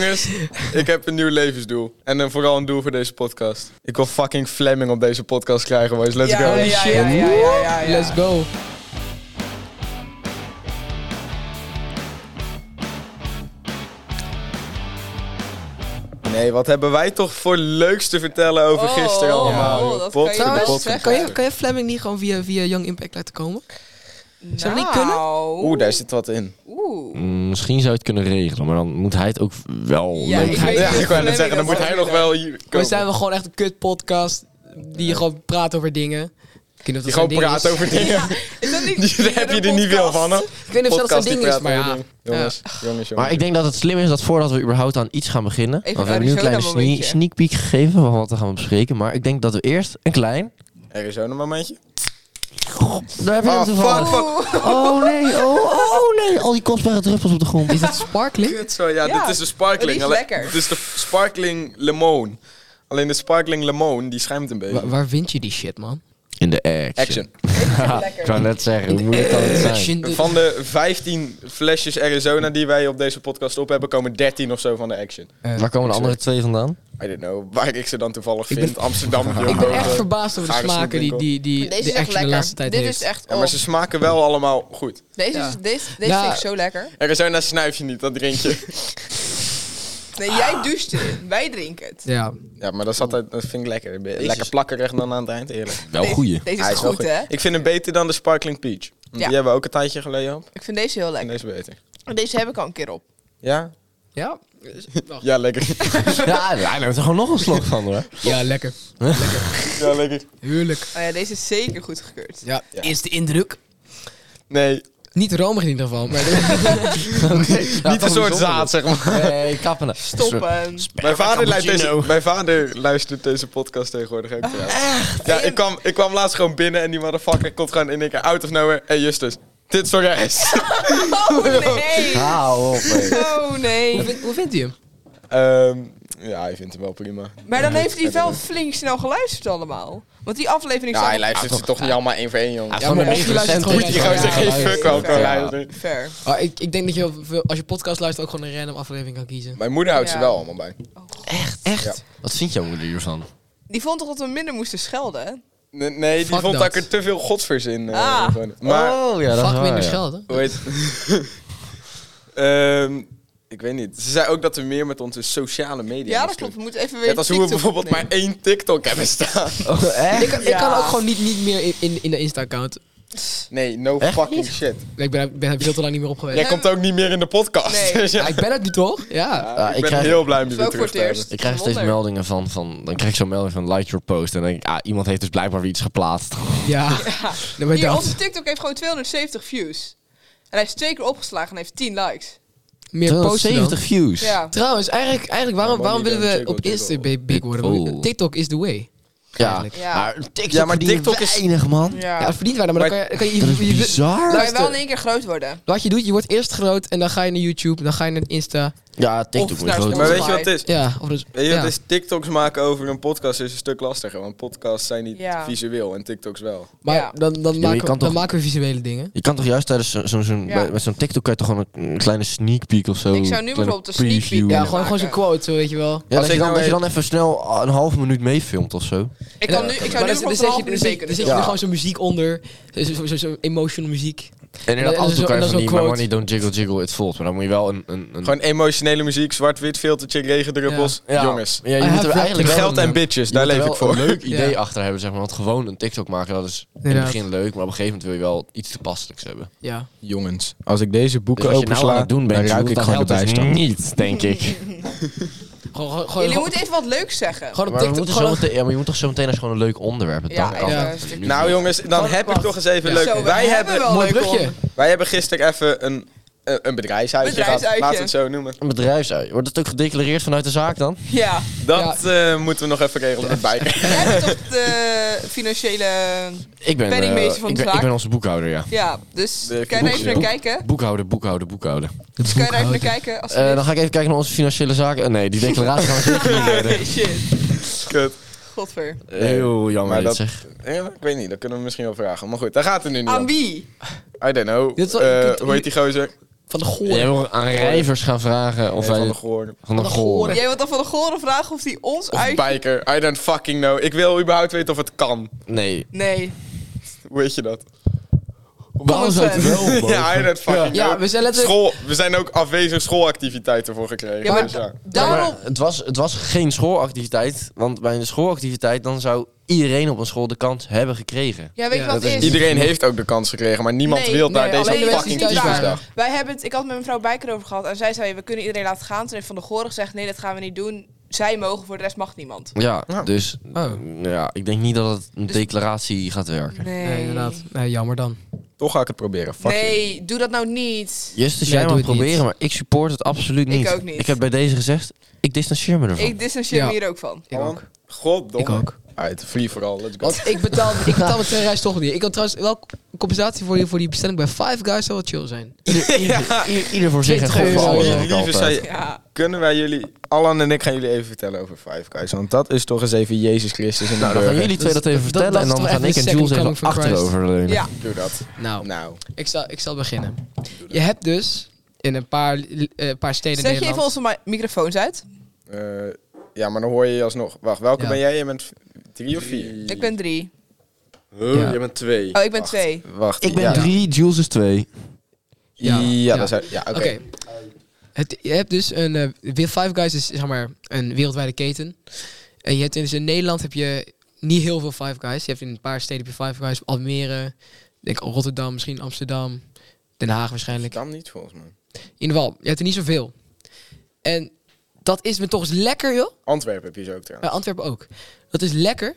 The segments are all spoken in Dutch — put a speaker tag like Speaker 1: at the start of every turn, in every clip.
Speaker 1: Jongens, ik heb een nieuw levensdoel. En dan vooral een doel voor deze podcast. Ik wil fucking Fleming op deze podcast krijgen, boys. Let's go.
Speaker 2: ja, ja,
Speaker 3: shit.
Speaker 2: ja, ja, ja, ja, ja.
Speaker 3: Let's go.
Speaker 1: Nee, wat hebben wij toch voor leuks te vertellen over
Speaker 2: Oh,
Speaker 1: gisteren
Speaker 2: oh,
Speaker 1: allemaal?
Speaker 2: oh,
Speaker 1: joh.
Speaker 2: dat
Speaker 1: Pot-
Speaker 2: kan je
Speaker 1: de
Speaker 2: best
Speaker 1: pot-
Speaker 2: zeggen.
Speaker 3: Kan je, kan je Fleming niet gewoon via, via Young Impact laten komen? Zou dat niet kunnen?
Speaker 2: Nou,
Speaker 1: Oeh, daar zit wat in.
Speaker 2: Oeh.
Speaker 4: Mm, misschien zou je het kunnen regelen, maar dan moet hij het ook wel
Speaker 2: Ja,
Speaker 4: leuk
Speaker 2: ik
Speaker 4: vinden.
Speaker 2: weet-
Speaker 1: Ja, ik wou net
Speaker 2: Fleming,
Speaker 1: zeggen, dan
Speaker 2: dat
Speaker 1: moet hij
Speaker 2: is
Speaker 1: nog
Speaker 2: leuk.
Speaker 1: wel hier
Speaker 3: We
Speaker 1: komen.
Speaker 3: zijn wel gewoon echt een kut podcast die je gewoon praat over dingen. Ik weet niet of
Speaker 1: Die
Speaker 3: dat
Speaker 1: gewoon
Speaker 3: zo'n ding
Speaker 1: praat
Speaker 3: is.
Speaker 1: over dingen.
Speaker 2: Is dat niet
Speaker 1: Die- Daar heb je er niet veel van, hè?
Speaker 3: Ik weet niet of dat zo'n
Speaker 1: Podcast die
Speaker 3: ding is,
Speaker 1: praat
Speaker 3: maar
Speaker 1: over
Speaker 3: ja.
Speaker 1: dingen. Jongens, jongens, jongens.
Speaker 4: Maar ik denk dat het slim is dat voordat we überhaupt aan iets gaan beginnen...
Speaker 2: Even
Speaker 4: want we hebben nu een kleine
Speaker 2: Arizona
Speaker 4: sneak,
Speaker 2: momentje.
Speaker 4: sneak peek gegeven van wat we gaan bespreken. Maar ik denk dat we eerst een klein...
Speaker 1: Arizona momentje.
Speaker 4: Daar heb je
Speaker 1: Ah,
Speaker 4: hem toevallig.
Speaker 1: fuck,
Speaker 4: Oh nee, oh, oh nee. Al die kostbare druppels op de grond.
Speaker 3: Is dat sparkling?
Speaker 1: Kut zo, ja,
Speaker 2: Ja,
Speaker 1: dit is de sparkling.
Speaker 2: die is
Speaker 1: Alleen-
Speaker 2: lekker.
Speaker 1: Dit is de sparkling lemon. Alleen de sparkling lemon, die schuimt een beetje.
Speaker 3: Wa- waar vind je die shit, man?
Speaker 4: In de action. Ah.
Speaker 1: Action.
Speaker 4: ik wou net zeggen, hoe moeilijk kan het zijn?
Speaker 3: Shit.
Speaker 1: Van de 15 flesjes Arizona die wij op deze podcast op hebben, komen 13 of zo van de action.
Speaker 4: Waar komen de andere twee vandaan?
Speaker 1: I don't know waar ik ze dan toevallig
Speaker 3: Ik ben-
Speaker 1: vind. Amsterdam. eh,
Speaker 3: Ik ben echt
Speaker 1: Johan.
Speaker 3: verbaasd over de
Speaker 1: Ga eens
Speaker 3: smaken die,
Speaker 1: goed
Speaker 3: die, Oh. die
Speaker 2: Deze
Speaker 3: de
Speaker 2: is echt
Speaker 3: action de laatste
Speaker 2: lekker.
Speaker 3: tijd
Speaker 2: Dit
Speaker 3: heeft.
Speaker 2: is echt
Speaker 1: Ja, maar
Speaker 2: op.
Speaker 1: ze smaken wel allemaal goed.
Speaker 2: Deze,
Speaker 3: Ja.
Speaker 2: is, deze, deze
Speaker 3: Ja.
Speaker 2: vind ik zo lekker.
Speaker 1: Arizona snuif je niet, dat drink je.
Speaker 2: Nee, jij doucht erin. Wij drinken
Speaker 1: Nou,
Speaker 2: het.
Speaker 3: Ja,
Speaker 1: Ja, maar dat, zat, uit- dat vind ik lekker. Een beetje Lekker
Speaker 3: is-
Speaker 1: plakkerig dan aan het eind, eerlijk.
Speaker 4: Wel
Speaker 2: Deze-
Speaker 4: goeie.
Speaker 2: Deze
Speaker 1: Hij
Speaker 2: is
Speaker 1: is wel
Speaker 2: goed, hè?
Speaker 1: Ik vind hem beter dan de Sparkling Peach. Want
Speaker 2: Ja.
Speaker 1: Die hebben we ook een tijdje geleden op.
Speaker 2: Ik vind deze heel
Speaker 1: En
Speaker 2: lekker.
Speaker 1: deze beter.
Speaker 2: Deze heb ik al een keer op.
Speaker 1: Ja?
Speaker 3: Ja?
Speaker 1: Ja, lekker.
Speaker 4: Ja, hij neemt er gewoon nog een slok van hoor.
Speaker 3: Ja, lekker.
Speaker 1: ja, lekker.
Speaker 3: Heerlijk.
Speaker 2: Oh ja, deze is zeker goed gekeurd.
Speaker 3: Ja,
Speaker 1: Ja.
Speaker 3: eerste indruk.
Speaker 1: Nee,
Speaker 3: Niet romig in ieder geval, maar
Speaker 1: niet een soort zaad, zeg maar.
Speaker 4: Nee, kappen.
Speaker 2: Stoppen.
Speaker 1: Mijn vader, luistert
Speaker 4: cappuccino.
Speaker 1: deze, mijn vader luistert deze podcast tegenwoordig ook trouwens. Ja, ik kwam, ik kwam laatst gewoon binnen en die motherfucker komt gewoon in één keer out of nowhere. Hey Justus, dit is voor reis.
Speaker 2: Oh nee!
Speaker 4: Hou op, hé.
Speaker 2: Oh
Speaker 3: hoe,
Speaker 2: nee.
Speaker 3: vind- hoe vindt u hem?
Speaker 1: Ehm ja, hij vindt hem wel prima.
Speaker 2: Maar dan heeft hij wel flink snel geluisterd allemaal. Want die aflevering
Speaker 1: Ja, hij
Speaker 2: staat
Speaker 1: luistert ze toch niet allemaal één voor één, jongen.
Speaker 4: Gewoon een
Speaker 3: maar of je luistert
Speaker 4: recente-
Speaker 3: gewoon
Speaker 1: Moet die gozer
Speaker 3: Ja,
Speaker 1: geen
Speaker 3: ja,
Speaker 1: fuck
Speaker 2: ja.
Speaker 1: wel kan
Speaker 2: Ja.
Speaker 1: luisteren.
Speaker 2: ver.
Speaker 3: Ah, ik, ik denk dat je heel veel- als je podcast luistert ook gewoon een random aflevering kan kiezen.
Speaker 1: Mijn moeder houdt ze
Speaker 2: Ja.
Speaker 1: wel allemaal bij.
Speaker 4: Echt? Echt?
Speaker 1: Ja.
Speaker 4: Wat vindt jouw moeder hiervan?
Speaker 2: Die vond toch dat we minder moesten schelden? hè?
Speaker 1: Nee, nee, die
Speaker 3: Fuck
Speaker 1: vond dat
Speaker 3: dat.
Speaker 1: ik er te veel godsvers in. eh,
Speaker 2: Ah.
Speaker 1: gewoon. Maar,
Speaker 4: oh, ja,
Speaker 3: Fuck
Speaker 4: is waar,
Speaker 3: minder
Speaker 4: ja.
Speaker 3: schelden.
Speaker 1: hoe heet Ehm, Ik weet niet. Ze zei ook dat we meer met onze sociale media
Speaker 2: Ja, dat
Speaker 1: moesten
Speaker 2: klopt. We moeten even weer.
Speaker 1: Net als hoe we
Speaker 2: TikTok
Speaker 1: bijvoorbeeld maar
Speaker 2: opnemen.
Speaker 1: één TikTok hebben staan.
Speaker 4: Oh, echt?
Speaker 3: Ik, kan- ik
Speaker 2: Ja.
Speaker 3: kan ook gewoon niet, niet meer in, in, in de Insta-account.
Speaker 1: Nee, no
Speaker 4: Echt
Speaker 1: fucking
Speaker 4: niet?
Speaker 1: shit.
Speaker 3: Ik ben, ik ben er veel te lang niet meer op geweest.
Speaker 1: Jij
Speaker 3: Ja.
Speaker 1: komt ook niet meer in de podcast.
Speaker 2: Nee.
Speaker 1: Dus ja,
Speaker 3: ik ben het nu toch? Ja.
Speaker 1: ja,
Speaker 4: Ah,
Speaker 1: ik
Speaker 4: ik
Speaker 1: ben
Speaker 4: krijg-
Speaker 1: heel blij om je
Speaker 2: Dat
Speaker 1: weer
Speaker 2: is
Speaker 1: terug
Speaker 2: ook
Speaker 1: te
Speaker 2: voor het
Speaker 1: hebben.
Speaker 2: eerst.
Speaker 4: Ik krijg steeds
Speaker 2: Wonder.
Speaker 4: meldingen van, van... Dan krijg ik zo'n melding van like your post. En dan denk ik, ah, iemand heeft dus blijkbaar weer iets geplaatst.
Speaker 3: Ja. Dan ben je
Speaker 2: Hier,
Speaker 3: dat.
Speaker 2: onze TikTok heeft gewoon 270 views. En hij is twee keer opgeslagen en heeft 10 likes.
Speaker 3: Meer posten dan.
Speaker 4: 70 views.
Speaker 2: Ja.
Speaker 3: Trouwens, eigenlijk, eigenlijk waarom,
Speaker 1: Ja,
Speaker 3: waarom
Speaker 1: maar
Speaker 3: willen
Speaker 1: niet
Speaker 3: we
Speaker 1: dan
Speaker 3: op
Speaker 1: TikTok,
Speaker 3: Insta
Speaker 1: TikTok.
Speaker 3: big, big worden?
Speaker 4: Cool.
Speaker 3: TikTok is the way.
Speaker 4: Ja.
Speaker 2: Ja.
Speaker 4: Maar TikTok,
Speaker 1: Ja, maar
Speaker 4: verdienen
Speaker 1: TikTok is-
Speaker 4: weinig, man.
Speaker 2: Ja.
Speaker 3: Ja, dat verdient wij, maar dan kan je... Dan kan je,
Speaker 4: Dat is
Speaker 3: je- je-
Speaker 4: bizar.
Speaker 2: Maar je wel in
Speaker 3: Luister,
Speaker 2: één keer groot worden.
Speaker 3: wat je doet, je wordt eerst groot en dan ga je naar YouTube, dan ga je naar Insta.
Speaker 4: Ja, TikTok
Speaker 2: Of
Speaker 4: moet je
Speaker 2: nou,
Speaker 4: groot
Speaker 1: Maar
Speaker 4: doen.
Speaker 1: weet je wat het is?
Speaker 3: Ja, of dus...
Speaker 1: Weet je,
Speaker 3: ja.
Speaker 1: wat het is TikToks maken over een podcast is een stuk lastiger. Want podcasts zijn niet
Speaker 2: Ja.
Speaker 1: visueel en TikToks wel.
Speaker 4: Mm.
Speaker 3: Maar
Speaker 2: Ja.
Speaker 3: dan, dan, maken,
Speaker 4: je
Speaker 3: we-
Speaker 4: kan
Speaker 3: dan
Speaker 4: toch-
Speaker 3: maken we visuele dingen.
Speaker 4: Je kan toch juist tijdens zo'n... Zo, zo'n-
Speaker 2: Ja.
Speaker 4: bij- Met zo'n TikTok kan je toch gewoon een, een kleine sneak peek of
Speaker 2: Ik
Speaker 4: zo...
Speaker 2: zou nu
Speaker 4: kleine
Speaker 2: bijvoorbeeld een sneak peek
Speaker 4: preview.
Speaker 3: Ja,
Speaker 2: kunnen
Speaker 3: gewoon, gewoon zo'n
Speaker 2: maken.
Speaker 3: quote, zo, weet je wel.
Speaker 4: Ja,
Speaker 1: Als
Speaker 4: dat,
Speaker 1: ik
Speaker 4: je dan,
Speaker 1: nou
Speaker 4: dat je
Speaker 1: even-
Speaker 4: dan even snel een halve minuut meefilmt of
Speaker 2: Ik,
Speaker 4: zo.
Speaker 2: kan
Speaker 1: Ja,
Speaker 2: nu,
Speaker 1: dat
Speaker 2: ik
Speaker 3: Maar
Speaker 2: zou nu
Speaker 3: dan- dan
Speaker 2: bijvoorbeeld een
Speaker 3: zet je-
Speaker 2: half
Speaker 3: dan
Speaker 2: minuut
Speaker 3: zet
Speaker 2: mee
Speaker 3: je- dan
Speaker 2: kunnen
Speaker 3: zet je
Speaker 2: zitten.
Speaker 3: er gewoon zo'n muziek onder. Zo- zo- zo- Zo'n emotional muziek.
Speaker 4: En
Speaker 3: dat
Speaker 4: inderdaad,
Speaker 3: is
Speaker 4: af en toe
Speaker 3: ook-
Speaker 4: kan je
Speaker 3: dat is
Speaker 4: van
Speaker 3: ook
Speaker 4: die My
Speaker 3: quote.
Speaker 4: money don't jiggle jiggle it falls. Maar dan moet je wel een... een, een
Speaker 1: Gewoon emotionele muziek, zwart-wit filtertje, regendruppels.
Speaker 4: Ja.
Speaker 1: Jongens.
Speaker 4: Ja, je
Speaker 3: I
Speaker 4: moet
Speaker 3: have
Speaker 4: er eigenlijk wel
Speaker 1: Geld
Speaker 4: een,
Speaker 1: en bitches, Dus daar
Speaker 4: je moet
Speaker 1: leef
Speaker 4: er
Speaker 1: ik
Speaker 4: wel
Speaker 1: voor.
Speaker 4: een leuk
Speaker 3: Ja.
Speaker 4: idee achter hebben, zeg maar. Want gewoon een TikTok maken, dat is in het
Speaker 3: Inderdaad.
Speaker 4: begin leuk. Maar op een gegeven moment wil je wel iets toepasselijks hebben.
Speaker 3: Ja.
Speaker 1: Jongens, als ik deze
Speaker 4: Dus
Speaker 1: boeken
Speaker 4: als je nou aan het doen bent, Joel, dan helpt het niet, denk ik.
Speaker 3: Gewoon, gewoon, gewoon,
Speaker 2: Jullie
Speaker 3: gewoon,
Speaker 2: moeten even wat leuks zeggen.
Speaker 3: gewoon op
Speaker 4: Maar, we
Speaker 3: TikTok.
Speaker 4: moeten
Speaker 3: Gewoon,
Speaker 4: zo meteen, ja, maar je moet toch zo meteen als gewoon een leuk onderwerp
Speaker 2: Ja,
Speaker 4: bedenken.
Speaker 2: even
Speaker 3: Ja.
Speaker 2: een stukje.
Speaker 1: Nou jongens, dan
Speaker 2: Wacht,
Speaker 1: heb ik
Speaker 2: wacht.
Speaker 1: toch eens even
Speaker 3: Ja.
Speaker 1: leuk.
Speaker 2: Zo, we
Speaker 1: wij, hebben,
Speaker 2: wel
Speaker 3: mooi
Speaker 2: leuk
Speaker 3: brugje.
Speaker 1: wij hebben gisteren even een, eh, een bedrijfsuitje, gehad.
Speaker 2: Bedrijfsuitje.
Speaker 1: Laten we het zo noemen.
Speaker 4: Een bedrijfsui. Wordt het ook gedeclareerd vanuit de zaak dan?
Speaker 2: om. Ja.
Speaker 1: Dat eh, moeten we nog even regelen met bijken.
Speaker 2: Jij bent toch de financiële...
Speaker 4: Ik ben,
Speaker 2: Penningmeester
Speaker 4: eh,
Speaker 2: van
Speaker 4: ik
Speaker 2: de
Speaker 4: ben,
Speaker 2: zaak.
Speaker 4: ik ben onze boekhouder, ja.
Speaker 2: Ja,
Speaker 1: De
Speaker 2: dus kan je daar even naar
Speaker 1: boek-
Speaker 2: kijken?
Speaker 4: Boekhouder, boekhouder, boekhouder.
Speaker 2: Dus kan je daar even naar kijken? Als
Speaker 4: Eh, dan ga ik even kijken naar onze financiële zaken. Eh, nee, die declaratie gaan we zeker niet redden.
Speaker 2: Shit.
Speaker 1: Kut.
Speaker 2: Godver.
Speaker 4: Heel jammer
Speaker 1: Maar
Speaker 4: dit,
Speaker 1: dat-
Speaker 4: zeg.
Speaker 1: Ja, ik weet niet, dat kunnen we misschien wel vragen. Maar goed, daar gaat het nu niet
Speaker 2: Aan
Speaker 1: om.
Speaker 2: wie?
Speaker 1: I don't know.
Speaker 3: Dit is wel-
Speaker 1: Eh,
Speaker 3: dit-
Speaker 1: hoe heet die gozer?
Speaker 3: Van de goor.
Speaker 4: Jij wil aan rijvers gaan vragen of
Speaker 1: Nee,
Speaker 4: wij
Speaker 1: van de Goorn.
Speaker 4: van de
Speaker 3: Van de Goor.
Speaker 4: goor.
Speaker 2: Jij wilt dan van de goren vragen of die ons
Speaker 1: Of
Speaker 2: uit...
Speaker 1: biker. I don't fucking know. Ik wil überhaupt weten of het kan.
Speaker 4: Nee.
Speaker 2: Nee.
Speaker 1: Hoe weet je dat?
Speaker 4: Waarom zou het wel mogen?
Speaker 1: ja, I don't fucking
Speaker 3: Ja,
Speaker 1: know.
Speaker 3: we zijn letterlijk-
Speaker 1: School, we zijn ook afwezig schoolactiviteiten voor gekregen.
Speaker 2: Ja, maar
Speaker 1: dus ja.
Speaker 2: Daarom...
Speaker 4: Maar het, was, het was geen schoolactiviteit. Want bij een schoolactiviteit dan zou iedereen op een school de kans hebben gekregen.
Speaker 2: Ja, weet je
Speaker 3: Ja,
Speaker 2: wat
Speaker 4: dat
Speaker 2: het
Speaker 4: is-
Speaker 2: is?
Speaker 1: Iedereen heeft ook de kans gekregen, maar niemand
Speaker 2: Nee,
Speaker 1: wil naar
Speaker 2: nee,
Speaker 1: deze
Speaker 2: alleen de mensen die
Speaker 1: fucking
Speaker 2: thuis waren.
Speaker 1: kiesdag.
Speaker 2: Wij hebben het, ik had het met mevrouw Bijker over gehad. En zij zei, we kunnen iedereen laten gaan. Toen heeft Van de Goren gezegd, nee, dat gaan we niet doen. Zij mogen, voor de rest mag niemand.
Speaker 4: Ja,
Speaker 1: Ja.
Speaker 4: dus
Speaker 3: Oh.
Speaker 4: ja, ik denk niet dat het een
Speaker 2: Dus-
Speaker 4: declaratie gaat werken.
Speaker 3: Nee, inderdaad. Nee, jammer dan.
Speaker 1: Toch ga ik het proberen. Fuck you.
Speaker 2: nee, doe dat nou niet.
Speaker 4: Justus,
Speaker 3: Nee,
Speaker 4: jij
Speaker 3: doe
Speaker 4: mag
Speaker 3: het niet.
Speaker 4: proberen, maar ik support het absoluut
Speaker 2: Ik
Speaker 4: niet.
Speaker 2: ook niet.
Speaker 4: Ik heb bij deze gezegd, ik distancieer me ervan.
Speaker 2: Ik distancieer me
Speaker 3: Ja.
Speaker 2: hier ook van.
Speaker 3: Ik
Speaker 1: Man,
Speaker 3: ook.
Speaker 1: Goddomme.
Speaker 3: Ik ook.
Speaker 1: Uit, free vooral. Let's go.
Speaker 3: Want ik betaal, ik betaal mijn treinreis toch niet. Ik kan trouwens wel compensatie voor, je, voor die bestelling bij Five Guys zou wel chill zijn.
Speaker 4: Ieder, ieder- ieder- ieder voor zich en
Speaker 3: 20
Speaker 4: God voor
Speaker 3: euro.
Speaker 4: allen.
Speaker 3: Jullie
Speaker 4: zeg ik
Speaker 1: lieve
Speaker 4: altijd.
Speaker 1: zij-
Speaker 2: Ja.
Speaker 1: Kunnen wij jullie, Alan en ik gaan jullie even vertellen over Five Guys. Want dat is toch eens even Jezus Christus en
Speaker 4: Nou, dan gaan jullie twee dat even
Speaker 3: Dus dat- dat
Speaker 4: vertellen en
Speaker 3: is
Speaker 4: dan
Speaker 3: toch
Speaker 4: gaan
Speaker 3: echt
Speaker 4: ik en
Speaker 3: de
Speaker 4: Jules
Speaker 3: second
Speaker 4: even
Speaker 3: coming van Christ.
Speaker 4: achteroverleunen.
Speaker 2: Ja.
Speaker 1: Doe dat.
Speaker 3: Nou,
Speaker 1: Nou.
Speaker 3: ik zal, ik zal beginnen. Je hebt dus in een paar, eh, paar steden in
Speaker 2: Zet je
Speaker 3: Nederland...
Speaker 2: even onze mi- microfoons uit?
Speaker 1: eh, ja, maar dan hoor je je alsnog. Wacht, welke
Speaker 3: Ja.
Speaker 1: ben jij? Je bent drie of vier?
Speaker 2: Ik ben drie.
Speaker 1: Huh,
Speaker 3: Ja.
Speaker 1: Jij bent twee.
Speaker 2: Oh, ik ben
Speaker 1: Wacht,
Speaker 2: twee.
Speaker 1: Wacht.
Speaker 4: Ik ben
Speaker 1: ja.
Speaker 4: drie, Jules is twee.
Speaker 1: Ja,
Speaker 3: Ja.
Speaker 1: dat is... Ja, oké.
Speaker 3: Oké. Het- Je hebt dus een... eh, Wi- Five Guys is zeg maar een wereldwijde keten. En je hebt dus in Nederland heb je niet heel veel Five Guys. Je hebt in een paar steden heb je Five Guys. Almere, ik denk Rotterdam, misschien Amsterdam, Den Haag waarschijnlijk.
Speaker 1: Kan niet volgens mij.
Speaker 3: In ieder geval, je hebt er niet zoveel. En dat is me toch eens lekker, joh.
Speaker 1: Antwerpen heb je zo ook trouwens.
Speaker 3: Bij Eh, Antwerpen ook. Dat is lekker.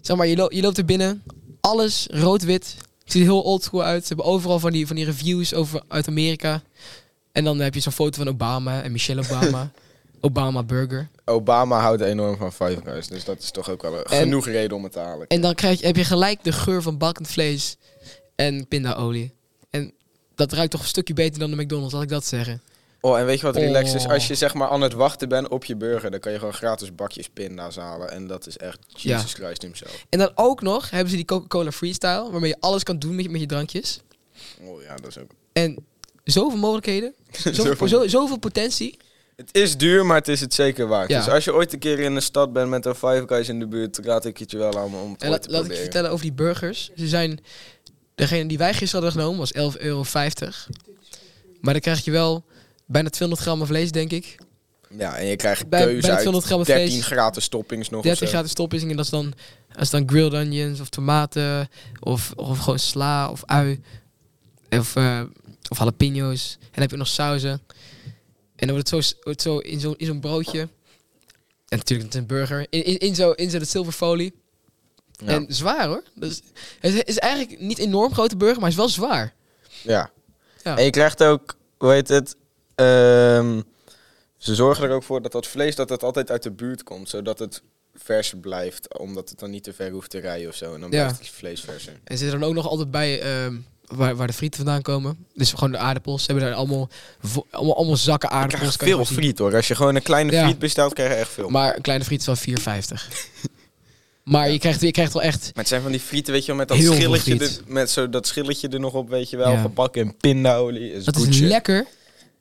Speaker 3: Zeg maar, je, lo- je loopt er binnen. Alles rood-wit. Het ziet er heel oldschool uit. Ze hebben overal van die, van die reviews over, uit Amerika. En dan heb je zo'n foto van Obama en Michelle Obama. Obama Burger.
Speaker 1: Obama houdt enorm van Five Guys, dus dat is toch ook wel een-
Speaker 3: En-
Speaker 1: genoeg reden om het te halen.
Speaker 3: En dan krijg je, heb je gelijk de geur van bakkend vlees en pindaolie. En dat ruikt toch een stukje beter dan de McDonald's, laat ik dat zeggen.
Speaker 1: Oh, en weet je wat relaxed is?
Speaker 3: Oh.
Speaker 1: Als je zeg maar aan het wachten bent op je burger, dan kan je gewoon gratis bakjes pinda's halen. En dat is echt
Speaker 3: Ja.
Speaker 1: Jesus Christ himself.
Speaker 3: En dan ook nog hebben ze die Coca-Cola Freestyle, waarmee je alles kan doen met je, met je drankjes.
Speaker 1: Oh ja, dat is ook...
Speaker 3: En zoveel mogelijkheden, zoveel,
Speaker 1: Zoveel-
Speaker 3: zo, zoveel potentie.
Speaker 1: Het is duur, maar het is het zeker waard.
Speaker 3: Ja.
Speaker 1: Dus als je ooit een keer in een stad bent met een Five Guys in de buurt, raad ik het je wel aan om het
Speaker 3: En
Speaker 1: ooit
Speaker 3: laat,
Speaker 1: te
Speaker 3: laat ik je
Speaker 1: proberen.
Speaker 3: vertellen over die burgers. Ze zijn, degene die wij gisteren hadden genomen was 11,50 euro. Maar dan krijg je wel bijna 200 gram aan vlees, denk ik.
Speaker 1: Ja, en je krijgt
Speaker 3: Bij-
Speaker 1: keuze
Speaker 3: bij de
Speaker 1: uit
Speaker 3: 200 gram
Speaker 1: 13
Speaker 3: vlees.
Speaker 1: gratis toppings nog
Speaker 3: 30
Speaker 1: of zo.
Speaker 3: graden stopwissing en dat is dan, dat is dan grilled onions of tomaten of, of gewoon sla of ui of, eh, of jalapeno's. En dan heb je nog sauzen. En dan wordt het zo, wordt zo in zo'n in zo'n broodje. En natuurlijk het is een burger. In, in, in zo'n in zo zilverfolie.
Speaker 1: Ja.
Speaker 3: En zwaar hoor. Dat is, het is eigenlijk niet enorm grote burger, maar hij is wel zwaar.
Speaker 1: Ja.
Speaker 3: Ja.
Speaker 1: En je krijgt ook, hoe heet het? ehm, ze zorgen er ook voor dat dat vlees dat het altijd uit de buurt komt, zodat het vers blijft, omdat het dan niet te ver hoeft te rijden of zo. En dan
Speaker 3: Ja.
Speaker 1: blijft het vlees verser.
Speaker 3: En ze zitten dan ook nog altijd bij ehm, waar, waar de frieten vandaan komen. Dus gewoon de aardappels. Ze hebben daar allemaal, vo- allemaal, allemaal zakken aardappels. kan je gewoon zien.
Speaker 1: hoor. Als je gewoon een kleine
Speaker 3: Ja.
Speaker 1: friet bestelt, krijg je echt veel. Maar,
Speaker 3: Maar een kleine friet is wel 4,50. maar je, krijgt, je krijgt wel echt...
Speaker 1: het zijn van die frieten, weet je wel, met dat
Speaker 3: Heel veel
Speaker 1: schilletje,
Speaker 3: friet.
Speaker 1: er, met zo dat schilletje er nog op, weet je wel,
Speaker 3: Ja.
Speaker 1: gepakt in pindaolie. Is
Speaker 3: Dat
Speaker 1: good
Speaker 3: is
Speaker 1: shit.
Speaker 3: lekker.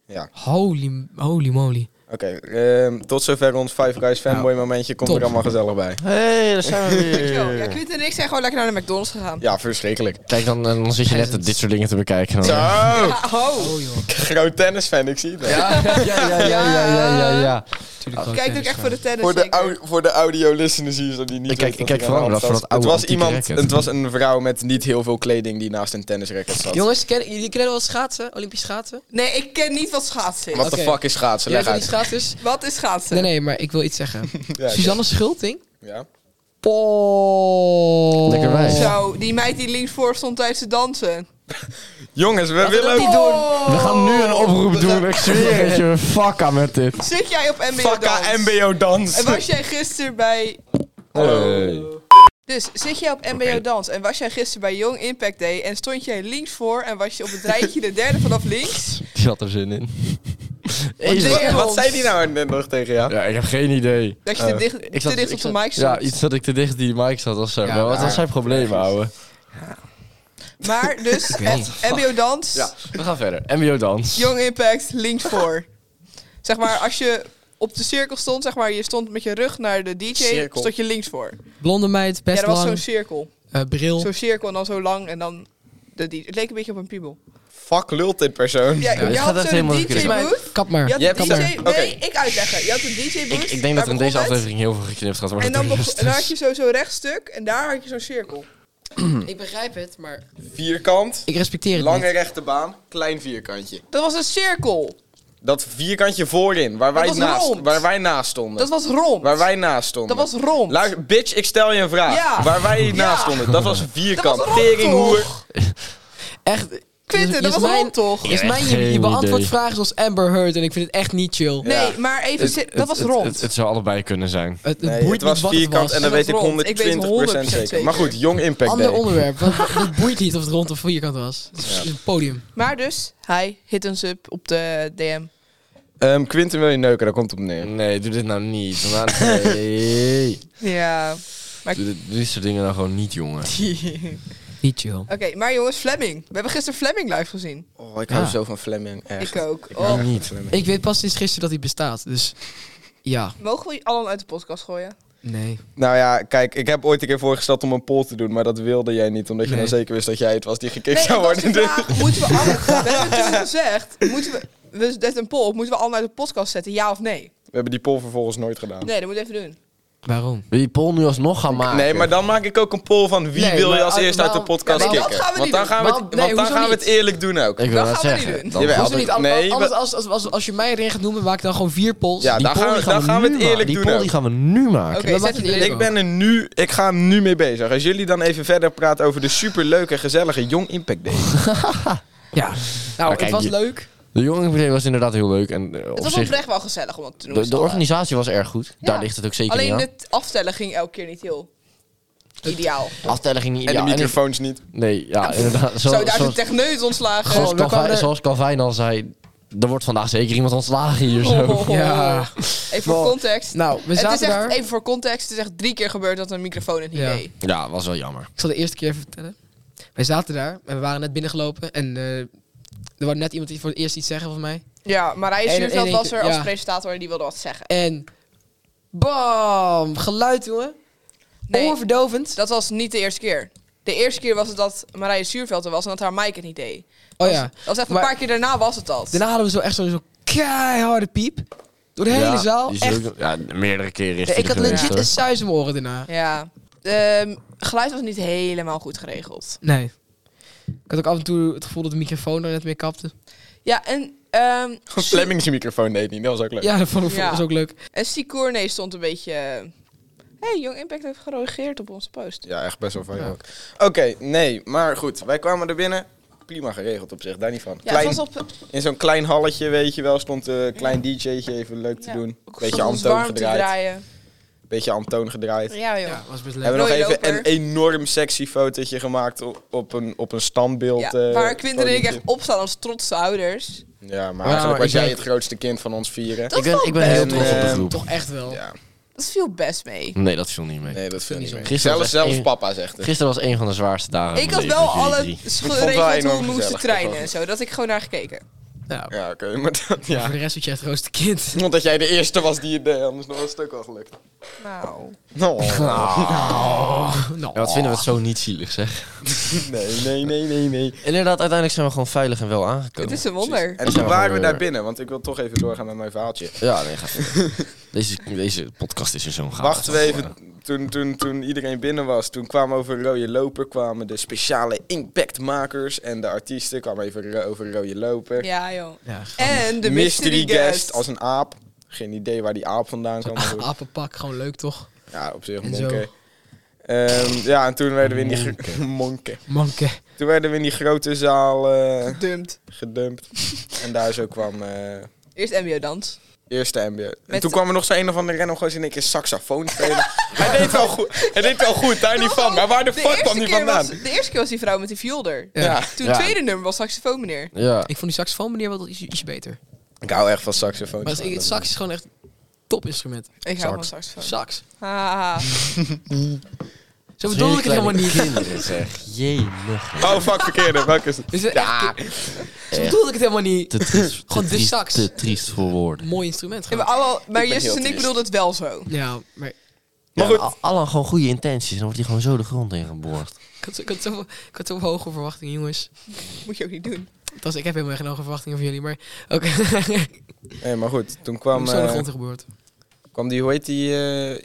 Speaker 1: Ja.
Speaker 3: Holy, holy moly.
Speaker 1: Oké, ehm, tot zover ons Five Guys fanboy momentje. Komt
Speaker 3: Nou, top.
Speaker 1: er allemaal gezellig bij.
Speaker 4: hey, daar zijn we
Speaker 2: Dankjewel. Ja, Knut en ik zijn gewoon lekker naar de McDonald's gegaan.
Speaker 1: Ja, verschrikkelijk.
Speaker 4: Kijk, dan, eh, dan zit je net
Speaker 3: Peasants.
Speaker 4: dit soort dingen te bekijken. Dan.
Speaker 1: Zo,
Speaker 2: Ah, oh.
Speaker 3: Oh joh.
Speaker 1: groot tennisfan, ik zie dat.
Speaker 4: ja, ja, ja, ja, ja, ja.
Speaker 3: Natuurlijk
Speaker 2: Ik Kijk ook echt voor
Speaker 3: eh,
Speaker 2: de tennis.
Speaker 1: Voor de,
Speaker 2: zeker.
Speaker 1: au- voor de audio listeners hier, zodat die niet
Speaker 4: Ik kijk-
Speaker 1: weten
Speaker 4: ik
Speaker 1: dat
Speaker 4: kijk vooral
Speaker 1: aan de
Speaker 4: naar
Speaker 1: hand staat.
Speaker 4: dat voor dat
Speaker 1: Het was
Speaker 4: oude
Speaker 1: iemand,
Speaker 4: antieke racket.
Speaker 1: het was een vrouw met niet heel veel kleding die naast een tennisracket zat.
Speaker 3: Jongens, ken, jullie kennen wel schaatsen? Olympisch schaatsen?
Speaker 2: Nee, ik ken niet wat schaatsen is.
Speaker 1: Wat de
Speaker 3: Oké.
Speaker 1: fuck is schaatsen?
Speaker 3: Jij
Speaker 1: Leg
Speaker 3: kent die
Speaker 1: uit.
Speaker 3: schaatsers?
Speaker 2: Wat is schaatsen?
Speaker 3: Nee, nee, maar ik wil iets zeggen.
Speaker 1: Ja, oké.
Speaker 3: Suzanne Schulting?
Speaker 1: Ja.
Speaker 3: Poh.
Speaker 4: Lekker wijs.
Speaker 2: Zo, die meid die linksvoor stond tijdens het dansen.
Speaker 1: Jongens, we willen
Speaker 3: dat
Speaker 1: ook...
Speaker 3: niet doen.
Speaker 4: We gaan nu een oproep doen. Ik zweer het je. Fuck aan met dit.
Speaker 2: Zit jij op MBO
Speaker 1: Fakka
Speaker 2: dans?
Speaker 1: mbo dans.
Speaker 2: En was jij gisteren bij...
Speaker 4: Hey.
Speaker 2: Dus zit jij op MBO
Speaker 4: Oké.
Speaker 2: dans en was jij gisteren bij Young Impact Day en stond jij links voor en was je op het rijtje de derde vanaf links?
Speaker 4: Die had er zin in.
Speaker 2: denk
Speaker 1: Wat,
Speaker 2: jij?
Speaker 1: wat zei die nou net nog tegen jou?
Speaker 4: Ja, ik heb geen idee.
Speaker 2: Dat je te
Speaker 1: Eh,
Speaker 2: dicht,
Speaker 4: Ik
Speaker 2: te
Speaker 4: zat-
Speaker 2: dicht
Speaker 4: ik
Speaker 2: op de
Speaker 4: zat-
Speaker 2: mic
Speaker 4: Ja,
Speaker 2: stond.
Speaker 4: iets dat ik te dicht die mic zat of zo.
Speaker 3: Ja,
Speaker 4: maar wat
Speaker 1: maar-
Speaker 4: was zijn probleem, ouwe?
Speaker 2: Maar dus,
Speaker 3: Ik weet
Speaker 2: het mbo-dans,
Speaker 4: Ja, we gaan verder. MBO dans.
Speaker 2: Young Impact, links voor. zeg maar, als je op de cirkel stond, zeg maar, je stond met je rug naar de DJ,
Speaker 1: Cirkel.
Speaker 2: stond je links voor.
Speaker 3: Blonde meid,
Speaker 2: ja,
Speaker 3: best
Speaker 2: dat was zo'n
Speaker 3: lang,
Speaker 2: cirkel.
Speaker 3: eh, bril.
Speaker 2: Zo'n cirkel en dan zo lang en dan de DJ. Het leek een beetje op een piebel.
Speaker 1: Fuck lult dit persoon.
Speaker 2: Ja,
Speaker 4: dit
Speaker 2: je
Speaker 4: gaat
Speaker 2: had
Speaker 4: echt
Speaker 2: zo'n
Speaker 4: helemaal de
Speaker 2: DJ
Speaker 4: klik.
Speaker 2: booth.
Speaker 3: Kap maar.
Speaker 2: Je had
Speaker 1: Jij
Speaker 2: een
Speaker 1: hebt
Speaker 2: DJ
Speaker 1: dat
Speaker 2: Nee,
Speaker 1: er. Oké.
Speaker 2: ik uitleggen. Je had een DJ booth.
Speaker 4: Ik, ik denk dat er
Speaker 2: daar
Speaker 4: in deze
Speaker 2: begon het.
Speaker 4: aflevering heel veel geknipt gaat worden.
Speaker 2: En dan, begon- en dan had je zo zo'n rechtstuk en daar had je zo'n cirkel.
Speaker 3: Ik begrijp het, maar...
Speaker 1: Vierkant,
Speaker 3: Ik respecteer het
Speaker 1: lange
Speaker 3: niet.
Speaker 1: rechte baan, klein vierkantje.
Speaker 2: Dat was een cirkel.
Speaker 1: Dat vierkantje voorin, waar wij,
Speaker 2: was
Speaker 1: naast,
Speaker 2: rond.
Speaker 1: waar wij naast stonden.
Speaker 2: Dat was rond.
Speaker 1: Waar wij naast stonden.
Speaker 2: Dat was rond.
Speaker 1: Luister, bitch, ik stel je een vraag.
Speaker 2: Ja.
Speaker 1: Waar wij
Speaker 2: Ja.
Speaker 1: naast stonden. Dat was
Speaker 2: Dat
Speaker 1: vierkant.
Speaker 2: was rond,
Speaker 1: Teringhoer.
Speaker 3: Echt...
Speaker 2: Quinten, dat was
Speaker 3: mijn,
Speaker 2: rond toch?
Speaker 3: Is
Speaker 4: Ja,
Speaker 3: mijn, je,
Speaker 4: geen
Speaker 3: je beantwoordt
Speaker 4: idee.
Speaker 3: vragen zoals Amber Heard en ik vind het echt niet chill.
Speaker 1: Ja.
Speaker 2: Nee, maar even,
Speaker 4: Het-
Speaker 2: se-
Speaker 4: het-
Speaker 2: dat was
Speaker 4: het-
Speaker 2: rond.
Speaker 4: Het, het zou allebei kunnen zijn.
Speaker 3: Het, het
Speaker 1: Nee, het
Speaker 3: boeit
Speaker 1: was
Speaker 3: niet wat het
Speaker 1: vierkant
Speaker 3: was.
Speaker 1: en dat
Speaker 2: Het
Speaker 1: weet
Speaker 2: was
Speaker 1: ik
Speaker 2: rond.
Speaker 1: 120%
Speaker 2: Ik weet het 100%
Speaker 1: zeker.
Speaker 2: zeker.
Speaker 1: Maar goed, Young Impact
Speaker 3: Ander
Speaker 1: Day.
Speaker 3: onderwerp, want het boeit niet of het rond of vierkant was. Het is een podium.
Speaker 2: Maar dus, hij hit ons up op de DM.
Speaker 1: Ehm, Quinten wil je neuken, daar komt het op neer.
Speaker 4: Nee, doe dit nou niet. Maar- nee.
Speaker 2: Ja.
Speaker 4: Doe dit- doe dit soort dingen nou gewoon niet, jongen.
Speaker 2: Oké,
Speaker 3: Niet chill.
Speaker 2: maar jongens, Fleming. We hebben gisteren Fleming live gezien.
Speaker 1: Oh, ik hou
Speaker 3: Ja.
Speaker 1: zo van Fleming. Echt.
Speaker 2: Ik ook.
Speaker 4: Nou,
Speaker 2: Oh.
Speaker 4: niet.
Speaker 3: Ik weet pas sinds gisteren dat hij bestaat, dus... Ja,
Speaker 2: Mogen we allen uit de podcast gooien?
Speaker 3: nee.
Speaker 1: Nou ja, kijk, ik heb ooit een keer voorgesteld om een poll te doen, maar dat wilde jij niet, omdat je
Speaker 3: Nee.
Speaker 1: dan zeker wist dat jij het was die gekikt
Speaker 2: Nee,
Speaker 1: zou
Speaker 2: dat was de
Speaker 1: worden.
Speaker 2: vraag. Moeten we allen... We hebben toen gezegd, moeten we... We zetten een poll op. Moeten we allen uit de podcast zetten, ja of nee?
Speaker 1: We hebben die poll vervolgens nooit
Speaker 4: Oh.
Speaker 1: gedaan.
Speaker 2: Nee, dat moet je even doen.
Speaker 3: Waarom?
Speaker 4: Wil je Paul nu alsnog gaan maken?
Speaker 1: Nee, maar dan maak ik ook een poll van wie
Speaker 3: Nee,
Speaker 1: wil je
Speaker 3: maar
Speaker 1: als
Speaker 3: al-
Speaker 1: eerst uit de
Speaker 3: waarom-
Speaker 1: podcast
Speaker 2: Ja, nou, maar dat
Speaker 1: kicken.
Speaker 2: gaan we
Speaker 1: Want
Speaker 2: niet
Speaker 1: dan gaan we het,
Speaker 3: doen. Nee,
Speaker 1: want dan
Speaker 3: hoezo
Speaker 1: gaan we het
Speaker 3: niet?
Speaker 1: eerlijk doen ook.
Speaker 4: Ik wil
Speaker 2: Dat
Speaker 4: net
Speaker 2: gaan we niet
Speaker 4: zeggen.
Speaker 2: doen.
Speaker 4: dan-
Speaker 1: Jawel.
Speaker 3: Hoezo
Speaker 1: dat-
Speaker 3: niet? Al-
Speaker 1: nee,
Speaker 3: al- anders,
Speaker 1: we-
Speaker 3: als, als, als, als je mij erin gaat noemen, maak ik dan gewoon vier polls.
Speaker 1: Ja,
Speaker 3: Die
Speaker 1: dan
Speaker 3: poll
Speaker 1: gaan we-
Speaker 3: die
Speaker 1: dan gaan we
Speaker 4: nu
Speaker 1: het
Speaker 4: maken.
Speaker 1: eerlijk
Speaker 4: Die
Speaker 1: doen
Speaker 4: poll
Speaker 1: ook.
Speaker 4: die gaan we nu maken.
Speaker 2: Oké,
Speaker 3: dan
Speaker 2: zet
Speaker 3: maak je
Speaker 2: het
Speaker 3: het
Speaker 2: erin.
Speaker 1: Ik ben er nu, ik ga hem nu mee bezig. Als jullie dan even verder praten over de superleuke, gezellige Young Impact Day.
Speaker 3: Ja. Nou,
Speaker 4: kijk,
Speaker 3: het was
Speaker 4: je-
Speaker 3: leuk.
Speaker 4: De jonge partij was inderdaad heel leuk. En, eh, op
Speaker 2: Het was
Speaker 4: zich,
Speaker 2: oprecht wel gezellig om dat te doen.
Speaker 4: de, de organisatie was erg goed.
Speaker 2: Ja.
Speaker 4: Daar ligt het ook zeker
Speaker 2: Alleen
Speaker 4: niet aan.
Speaker 2: het aftellen ging elke keer niet heel ideaal.
Speaker 4: Aftellen ging niet
Speaker 1: En
Speaker 4: ideaal.
Speaker 1: de microfoons niet.
Speaker 4: nee, ja, inderdaad. Zo,
Speaker 2: Zo, daar is een
Speaker 4: zoals,
Speaker 2: techneut ontslagen.
Speaker 4: zoals,
Speaker 3: Gewoon, we
Speaker 4: Calvijn,
Speaker 3: kwamen er-
Speaker 4: zoals Calvijn al zei, er wordt vandaag zeker iemand ontslagen hier zo.
Speaker 2: Oh.
Speaker 3: Ja.
Speaker 2: Even voor
Speaker 3: Wow.
Speaker 2: context.
Speaker 3: Nou, we
Speaker 2: het is
Speaker 3: zaten
Speaker 2: echt,
Speaker 3: daar.
Speaker 2: even voor context, het is echt drie keer gebeurd dat een microfoon het niet
Speaker 3: Ja.
Speaker 2: deed.
Speaker 4: Ja, was wel jammer.
Speaker 3: Ik zal de eerste keer even vertellen. Wij zaten daar en we waren net binnengelopen. En eh, er was net iemand die voor het eerst iets zeggen, volgens mij.
Speaker 2: Ja, Marije
Speaker 3: En- en
Speaker 2: Zuurveld
Speaker 3: één
Speaker 2: was
Speaker 3: keer-
Speaker 2: er als
Speaker 3: ja.
Speaker 2: presentator en die wilde wat zeggen.
Speaker 3: En bam! Geluid, jongen.
Speaker 2: Nee.
Speaker 3: Oorverdovend.
Speaker 2: Dat was niet de eerste keer. De eerste keer was het dat Marije Zuurveld er was en dat haar mic het niet deed.
Speaker 3: Oh ja.
Speaker 2: Dat was echt een
Speaker 3: Maar-
Speaker 2: paar keer daarna was het dat.
Speaker 3: Daarna hadden we zo echt zo'n zo keiharde piep. Door de hele
Speaker 4: Ja,
Speaker 3: zaal.
Speaker 4: die is
Speaker 3: Echt.
Speaker 4: ook- ja, meerdere keren richting
Speaker 3: ik had
Speaker 4: de geweest,
Speaker 3: legit
Speaker 4: hoor.
Speaker 3: een suis in mijn oren daarna.
Speaker 2: Ja. Ehm, geluid was niet helemaal goed geregeld.
Speaker 3: Nee. Ik had ook af en toe het gevoel dat de microfoon er net mee kapte.
Speaker 2: Ja, en, ehm
Speaker 1: Flemings microfoon deed niet, dat was ook leuk.
Speaker 3: Ja, dat vond ik
Speaker 2: Ja.
Speaker 3: was ook leuk.
Speaker 2: en Sigourney stond een beetje... Hé, hey, Young Impact heeft gereageerd op onze post.
Speaker 1: Ja, echt best wel van
Speaker 3: Ja.
Speaker 1: ook. Oké, nee, maar goed. Wij kwamen er binnen. Prima geregeld op zich, daar niet van.
Speaker 2: Ja,
Speaker 1: Klein-
Speaker 2: het was op
Speaker 1: In zo'n klein halletje, weet je wel, stond een klein DJ'tje even leuk te
Speaker 2: Ja.
Speaker 1: doen.
Speaker 2: Ook
Speaker 1: Beetje
Speaker 2: stond ons
Speaker 1: Antoon
Speaker 2: warm te
Speaker 1: gedraaid.
Speaker 2: draaien.
Speaker 1: Beetje Antoon gedraaid.
Speaker 2: Ja, joh.
Speaker 3: Ja, was best
Speaker 1: We
Speaker 3: leuk.
Speaker 1: hebben nog
Speaker 2: Rode
Speaker 1: even
Speaker 2: loper.
Speaker 1: een enorm sexy fotootje gemaakt op, op, een, op een standbeeld.
Speaker 2: Ja,
Speaker 1: eh,
Speaker 2: waar Quinten en ik echt
Speaker 1: fotootje.
Speaker 2: opstaan als trotse ouders.
Speaker 1: Ja, maar
Speaker 4: Ja,
Speaker 1: eigenlijk
Speaker 4: maar
Speaker 1: was
Speaker 4: Nou, ik
Speaker 1: jij
Speaker 4: denk-
Speaker 1: het grootste kind van ons vieren.
Speaker 2: Dat
Speaker 4: ik ben,
Speaker 2: valt
Speaker 4: ik ben heel
Speaker 1: best
Speaker 4: trots op de
Speaker 1: mee.
Speaker 4: groep.
Speaker 3: Toch echt wel.
Speaker 1: Ja,
Speaker 2: Dat viel best mee.
Speaker 4: Nee, dat viel niet mee.
Speaker 1: nee, dat viel niet mee.
Speaker 4: Gisteren
Speaker 1: Zelfs,
Speaker 4: was
Speaker 1: zelfs
Speaker 4: één-
Speaker 1: papa zegt het.
Speaker 4: Gisteren was een van de zwaarste dagen.
Speaker 2: ik
Speaker 4: van
Speaker 2: had
Speaker 4: mijn
Speaker 2: wel
Speaker 4: leven, met
Speaker 2: alle
Speaker 4: jullie drie.
Speaker 1: vond het wel
Speaker 2: geregeld hoe
Speaker 1: enorm
Speaker 2: we moesten
Speaker 1: gezellig,
Speaker 2: treinen
Speaker 1: dat
Speaker 2: en
Speaker 1: was
Speaker 2: zo. Dat ik gewoon naar gekeken.
Speaker 3: Nou,
Speaker 1: Ja, oké, maar dat... Ja.
Speaker 3: Voor de rest was je echt rooster kind.
Speaker 1: Omdat jij de eerste was die het deed, anders was het ook wel gelukt.
Speaker 2: Nou.
Speaker 1: Oh.
Speaker 3: Nou,
Speaker 4: Ja, wat vinden we het zo niet zielig, zeg.
Speaker 1: Nee, nee, nee, nee, nee.
Speaker 4: Inderdaad, uiteindelijk zijn we gewoon veilig en wel aangekomen.
Speaker 2: Het is een wonder.
Speaker 1: En toen waren we daar binnen, want ik wil toch even doorgaan met mijn verhaaltje.
Speaker 4: Ja, nee, ga verder. deze, deze podcast is in zo'n gaaf.
Speaker 1: Wachten we even. Toen, toen, toen iedereen binnen was, toen kwamen over Rode Loper kwamen de speciale impactmakers en de artiesten kwamen even ro- over Rode Loper.
Speaker 2: Ja, joh.
Speaker 3: Ja,
Speaker 2: En de mystery, guest.
Speaker 1: als een aap. Geen idee waar die aap vandaan kwam. maar goed.
Speaker 3: apenpak, gewoon leuk toch?
Speaker 1: Ja, op zich
Speaker 3: En zo.
Speaker 1: monke. Ehm, ja, en toen werden we in die gro- monke.
Speaker 3: Manke.
Speaker 1: Toen werden we in die grote zaal eh,
Speaker 2: Gedumpt.
Speaker 1: gedumpt. en daar zo kwam eh,
Speaker 2: Eerst mbo-dans.
Speaker 1: Eerste MBO. En
Speaker 2: Met-
Speaker 1: toen kwam er nog zo'n een of andere random gozer in één keer saxofoon spelen. hij, deed wel goed, hij deed wel goed, daar niet van. Maar waar de, fuck kwam die
Speaker 2: Oh, keer
Speaker 1: vandaan?
Speaker 2: was, de eerste keer was die vrouw met die fielder.
Speaker 3: Ja.
Speaker 1: Ja.
Speaker 2: Toen
Speaker 4: Ja.
Speaker 2: het tweede nummer was saxofoon meneer.
Speaker 4: Ja.
Speaker 3: Ik vond die saxofoon meneer wel iets, ietsje beter.
Speaker 1: Ik hou echt van saxofoon.
Speaker 3: Maar het, het sax is gewoon echt topinstrument.
Speaker 2: Ik hou van saxofoon.
Speaker 3: Sax.
Speaker 2: Haha.
Speaker 3: Zo bedoel ik het helemaal niet.
Speaker 4: Kinderen zeg. Jelig.
Speaker 1: Oh, fuck, verkeerde. Welke is het?
Speaker 3: Dus, eh, echt, zo bedoelde ik het helemaal niet.
Speaker 4: Te triest,
Speaker 3: Gewoon
Speaker 4: te
Speaker 3: de
Speaker 4: triest-
Speaker 3: sax.
Speaker 4: Te triest voor woorden.
Speaker 3: Mooi instrument
Speaker 2: Ja, maar
Speaker 3: gewoon.
Speaker 2: allemaal, maar
Speaker 1: ben
Speaker 2: Justus
Speaker 1: heel
Speaker 2: en ik
Speaker 1: triest.
Speaker 2: bedoelden het wel zo.
Speaker 3: Ja, maar ik
Speaker 1: Maar
Speaker 4: Ja,
Speaker 1: goed.
Speaker 4: al- Allen gewoon goede intenties. Dan wordt hij gewoon zo de grond ingeboord.
Speaker 3: had, ik had zo- ik had zo hoge verwachtingen, jongens.
Speaker 2: Moet je ook niet doen.
Speaker 3: Dat was, ik heb helemaal geen hoge verwachtingen van jullie, maar ook
Speaker 1: Nee, maar goed. Toen kwam,
Speaker 3: zo de
Speaker 1: eh,
Speaker 3: grond geboord.
Speaker 1: kwam die, hoe heet die eh,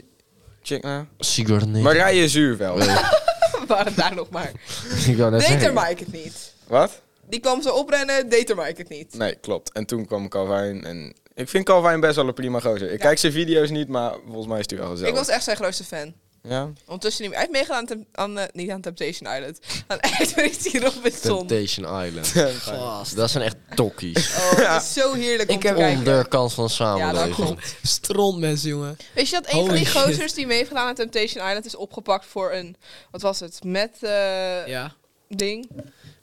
Speaker 1: chick nou?
Speaker 4: Sigourney.
Speaker 1: Marije Zuurveld.
Speaker 2: We waren daar nog maar.
Speaker 4: Ik wou net
Speaker 2: Deed er
Speaker 4: zeggen.
Speaker 2: Mike het niet.
Speaker 1: Wat?
Speaker 2: Die kwam zo oprennen, deed er Mike het niet.
Speaker 1: Nee, klopt. En toen kwam Calvin en... Ik vind Calvin best wel een prima gozer. Ik
Speaker 2: Ja.
Speaker 1: kijk zijn video's niet, maar volgens mij is hij wel gezellig.
Speaker 2: Ik was echt zijn grootste fan.
Speaker 1: Ja?
Speaker 2: Ondertussen niet meer. Hij heeft meegedaan aan, Temp- aan eh, niet aan Temptation Island. Aan Expeditie Robinson.
Speaker 4: Temptation Island.
Speaker 3: Gast.
Speaker 4: Dat zijn echt tokkies.
Speaker 2: Oh, het is zo heerlijk om
Speaker 4: Ik
Speaker 2: te
Speaker 4: heb
Speaker 2: kijken.
Speaker 4: onderkant van de
Speaker 2: Ja, dat
Speaker 4: samenleving.
Speaker 3: Stront mensen, jongen.
Speaker 2: Weet je dat een van
Speaker 3: Holy
Speaker 2: die
Speaker 3: shit.
Speaker 2: gozers die mee heeft gedaan aan Temptation Island is opgepakt voor een, wat was het, met eh,
Speaker 3: Ja.
Speaker 2: ding?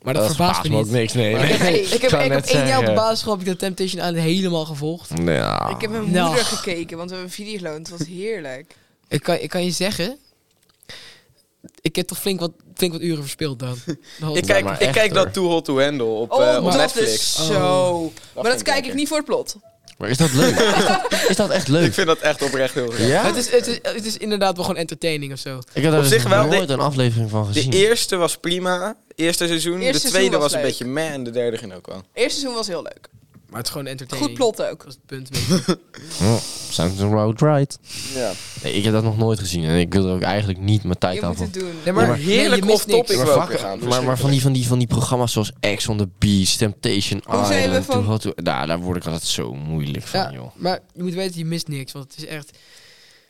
Speaker 3: Maar dat, verbaast me niet.
Speaker 4: niks, nee.
Speaker 2: nee. Nee.
Speaker 3: Ik heb,
Speaker 4: Zou
Speaker 3: ik heb
Speaker 4: net
Speaker 3: één jaar op de
Speaker 4: zeggen.
Speaker 3: basisschool heb ik de Temptation Island helemaal gevolgd.
Speaker 1: Ah.
Speaker 4: Ja.
Speaker 2: Ik heb mijn
Speaker 3: Nou.
Speaker 2: moeder gekeken, want we hebben video's geloond. Het was heerlijk.
Speaker 3: Ik kan, ik kan je zeggen, ik heb toch flink wat, flink wat uren verspeeld dan. Dat was-
Speaker 1: Ik
Speaker 4: Ja,
Speaker 1: kijk,
Speaker 4: maar
Speaker 1: ik
Speaker 4: echt,
Speaker 1: kijk
Speaker 4: hoor.
Speaker 1: dat Too Hot To Handle op,
Speaker 2: Oh,
Speaker 1: eh, op
Speaker 2: dat
Speaker 1: Netflix. Oh.
Speaker 2: is zo. maar
Speaker 1: vind
Speaker 2: dat
Speaker 1: ik
Speaker 2: kijk ik
Speaker 1: lekker.
Speaker 2: niet voor het plot.
Speaker 4: Maar is dat leuk? is dat echt
Speaker 1: Ik
Speaker 4: leuk?
Speaker 1: vind dat echt oprecht heel gezellig.
Speaker 2: Ah.
Speaker 4: Ja?
Speaker 3: het, is, het, is, het is inderdaad wel gewoon entertaining of zo.
Speaker 4: Ik heb daar
Speaker 1: Op
Speaker 4: dus
Speaker 1: zich wel,
Speaker 4: nog nooit een aflevering van
Speaker 1: De
Speaker 4: gezien.
Speaker 1: eerste was prima. Eerste seizoen.
Speaker 2: Eerste
Speaker 1: de
Speaker 2: seizoen
Speaker 1: tweede
Speaker 2: was
Speaker 1: was, een
Speaker 2: leuk.
Speaker 1: beetje meh. En de derde ging ook wel.
Speaker 2: Eerste seizoen was heel leuk.
Speaker 3: Maar het is gewoon entertaining.
Speaker 2: Goed plot ook.
Speaker 3: Dat is het punt. een beetje.
Speaker 4: Oh, sounds about right.
Speaker 1: Ja.
Speaker 4: Nee, ik heb dat nog nooit gezien en ik wil er ook eigenlijk niet mijn tijd
Speaker 2: Je
Speaker 4: aan
Speaker 2: moet
Speaker 4: van.
Speaker 2: het doen.
Speaker 3: Nee,
Speaker 1: Maar
Speaker 3: maar
Speaker 1: heerlijk
Speaker 3: nee, je mist
Speaker 1: off-topic
Speaker 3: niks.
Speaker 1: wel
Speaker 4: fuck,
Speaker 1: gegaan.
Speaker 4: maar, maar van, die, van, die, van die programma's zoals X on the Beach, Temptation
Speaker 2: Hoe zijn we
Speaker 4: Island,
Speaker 2: van-
Speaker 4: Too Hot To- nou, daar word ik altijd zo moeilijk van,
Speaker 3: Ja,
Speaker 4: joh.
Speaker 3: maar je moet weten, je mist niks. Want het is echt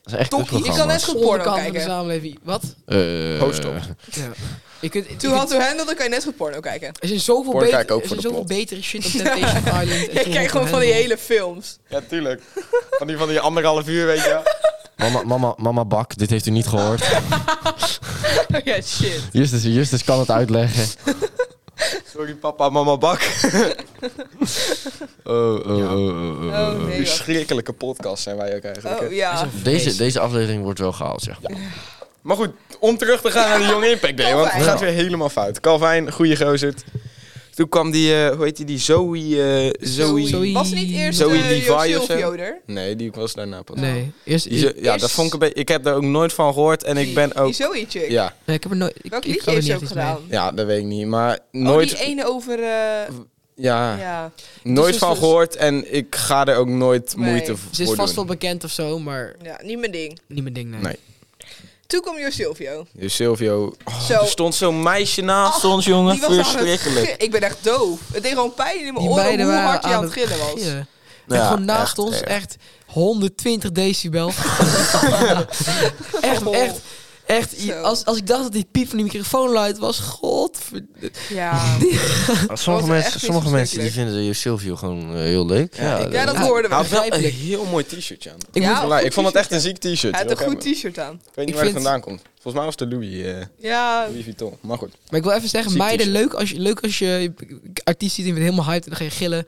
Speaker 4: Dat is echt
Speaker 2: Toch,
Speaker 4: kut
Speaker 2: je kan
Speaker 4: programma's.
Speaker 2: net zo-
Speaker 3: de
Speaker 2: Porno
Speaker 3: onderkant van de
Speaker 2: kijken.
Speaker 3: samenleving. Wat?
Speaker 4: Eh,
Speaker 1: Host op.
Speaker 3: Ja. Je kunt, je
Speaker 2: Toen
Speaker 3: kunt-
Speaker 2: had to handle, dan kan je net goed porno kijken.
Speaker 3: er zijn zoveel,
Speaker 1: Porno
Speaker 3: beter,
Speaker 1: kijken ook
Speaker 3: er
Speaker 1: voor
Speaker 3: zijn
Speaker 1: de
Speaker 3: zoveel
Speaker 1: plot.
Speaker 3: betere shit dan Temptation Island. en
Speaker 2: Jij
Speaker 3: Too
Speaker 2: kijkt
Speaker 3: Hot
Speaker 2: gewoon
Speaker 3: to
Speaker 2: van die
Speaker 3: Handle.
Speaker 2: hele films.
Speaker 1: Ja, tuurlijk. Van die, van die anderhalf uur, weet je wel.
Speaker 4: mama, mama, mama Bak, dit heeft u niet gehoord.
Speaker 2: Oh, ja, shit.
Speaker 4: Justus, Justus kan het uitleggen.
Speaker 1: Sorry papa, mama bak.
Speaker 4: Oh, oh,
Speaker 2: Oh,
Speaker 4: oh, oh, oh, oh.
Speaker 2: nee. wacht.
Speaker 1: Verschrikkelijke podcast zijn wij ook eigenlijk.
Speaker 2: Oh,
Speaker 1: hè.
Speaker 2: ja.
Speaker 4: Deze, deze aflevering wordt wel gehaald, ja.
Speaker 1: Maar goed, om terug te gaan naar die Young Impact Day. Want het
Speaker 4: Calvin.
Speaker 1: gaat weer helemaal fout. Calvin, goeie gozer. Toen kwam die, eh, hoe heet die, die Zoe... eh, Zoe...
Speaker 3: Zoe-
Speaker 2: Was niet eerst
Speaker 1: Zoe
Speaker 2: eh,
Speaker 1: Levi of zo?
Speaker 2: Joost Joder?
Speaker 1: Nee, die was daarna pas.
Speaker 3: Nee, eerst...
Speaker 1: Die zo- ja,
Speaker 2: Eerst-
Speaker 1: dat vond ik een beetje... Ik heb daar ook nooit van gehoord. En ik ben ook...
Speaker 2: Die Zoe chick.
Speaker 1: Ja,
Speaker 3: nee, ik heb er nooit... ik-
Speaker 2: Welk
Speaker 3: ik
Speaker 2: liedje
Speaker 3: had er
Speaker 2: heeft ze
Speaker 3: niet
Speaker 2: ook
Speaker 3: echt iets mee.
Speaker 2: gedaan?
Speaker 1: ja, dat weet ik niet. Maar
Speaker 2: Nooit.
Speaker 1: nooit... Ah.
Speaker 2: die ene over... eh,
Speaker 1: ja,
Speaker 2: ja.
Speaker 1: nooit
Speaker 3: dus-
Speaker 1: van
Speaker 3: dus-
Speaker 1: gehoord. En ik ga er ook nooit
Speaker 2: Nee.
Speaker 1: moeite
Speaker 3: Ze
Speaker 1: voor
Speaker 3: is vast
Speaker 1: doen.
Speaker 3: wel bekend of zo, maar
Speaker 2: ja, niet mijn ding.
Speaker 3: niet mijn ding, nee.
Speaker 1: Nee.
Speaker 2: Toen kwam Joost Silvio.
Speaker 1: Dus Silvio... Oh,
Speaker 2: Zo.
Speaker 1: Er stond zo'n meisje naast ons, jongen.
Speaker 2: Die was aan het
Speaker 1: Verschrikkelijk.
Speaker 2: gillen. Ik ben echt doof. Het deed gewoon pijn in mijn
Speaker 3: Die
Speaker 2: oren
Speaker 3: beiden
Speaker 2: hoe
Speaker 3: waren
Speaker 2: hard hij
Speaker 3: aan
Speaker 2: aan het gillen was.
Speaker 3: gillen.
Speaker 1: Ja,
Speaker 3: en gewoon naast
Speaker 1: echt
Speaker 3: ons
Speaker 1: erg.
Speaker 3: Nou echt 120 decibel. echt, echt. Echt, i-
Speaker 2: Oh. Zo.
Speaker 3: als, als ik dacht dat die piep van die microfoon luid was, godver...
Speaker 2: Ja.
Speaker 4: Sommige,
Speaker 2: was echt
Speaker 4: mensen,
Speaker 2: niet
Speaker 4: sommige mensen die
Speaker 2: verschrikkelijk.
Speaker 4: vinden Joost Silvio gewoon eh, heel leuk. Ja,
Speaker 1: ik-
Speaker 2: ja, dat
Speaker 3: Ja.
Speaker 1: Hij
Speaker 2: hoorden we.
Speaker 1: had wel een
Speaker 3: Begrijpelijk.
Speaker 1: heel mooi t-shirtje aan.
Speaker 3: Ik
Speaker 2: Ja,
Speaker 3: moet-
Speaker 2: een
Speaker 1: Voilà,
Speaker 2: goed
Speaker 1: ik vond het
Speaker 2: t-shirt,
Speaker 1: echt een ziek t-shirt.
Speaker 2: Hij had
Speaker 1: heel
Speaker 2: een goed
Speaker 1: gek.
Speaker 2: t-shirt aan.
Speaker 1: Ik weet niet
Speaker 3: Ik
Speaker 1: waar
Speaker 3: vind-
Speaker 1: het vandaan komt. Volgens mij was het de Louis, eh,
Speaker 2: Ja.
Speaker 1: Louis Vuitton. Maar goed.
Speaker 3: Maar ik wil even zeggen,
Speaker 1: Ziek
Speaker 3: meiden,
Speaker 1: is-
Speaker 3: leuk als, je, leuk als je je artiest ziet en je bent helemaal hyped en dan ga je gillen.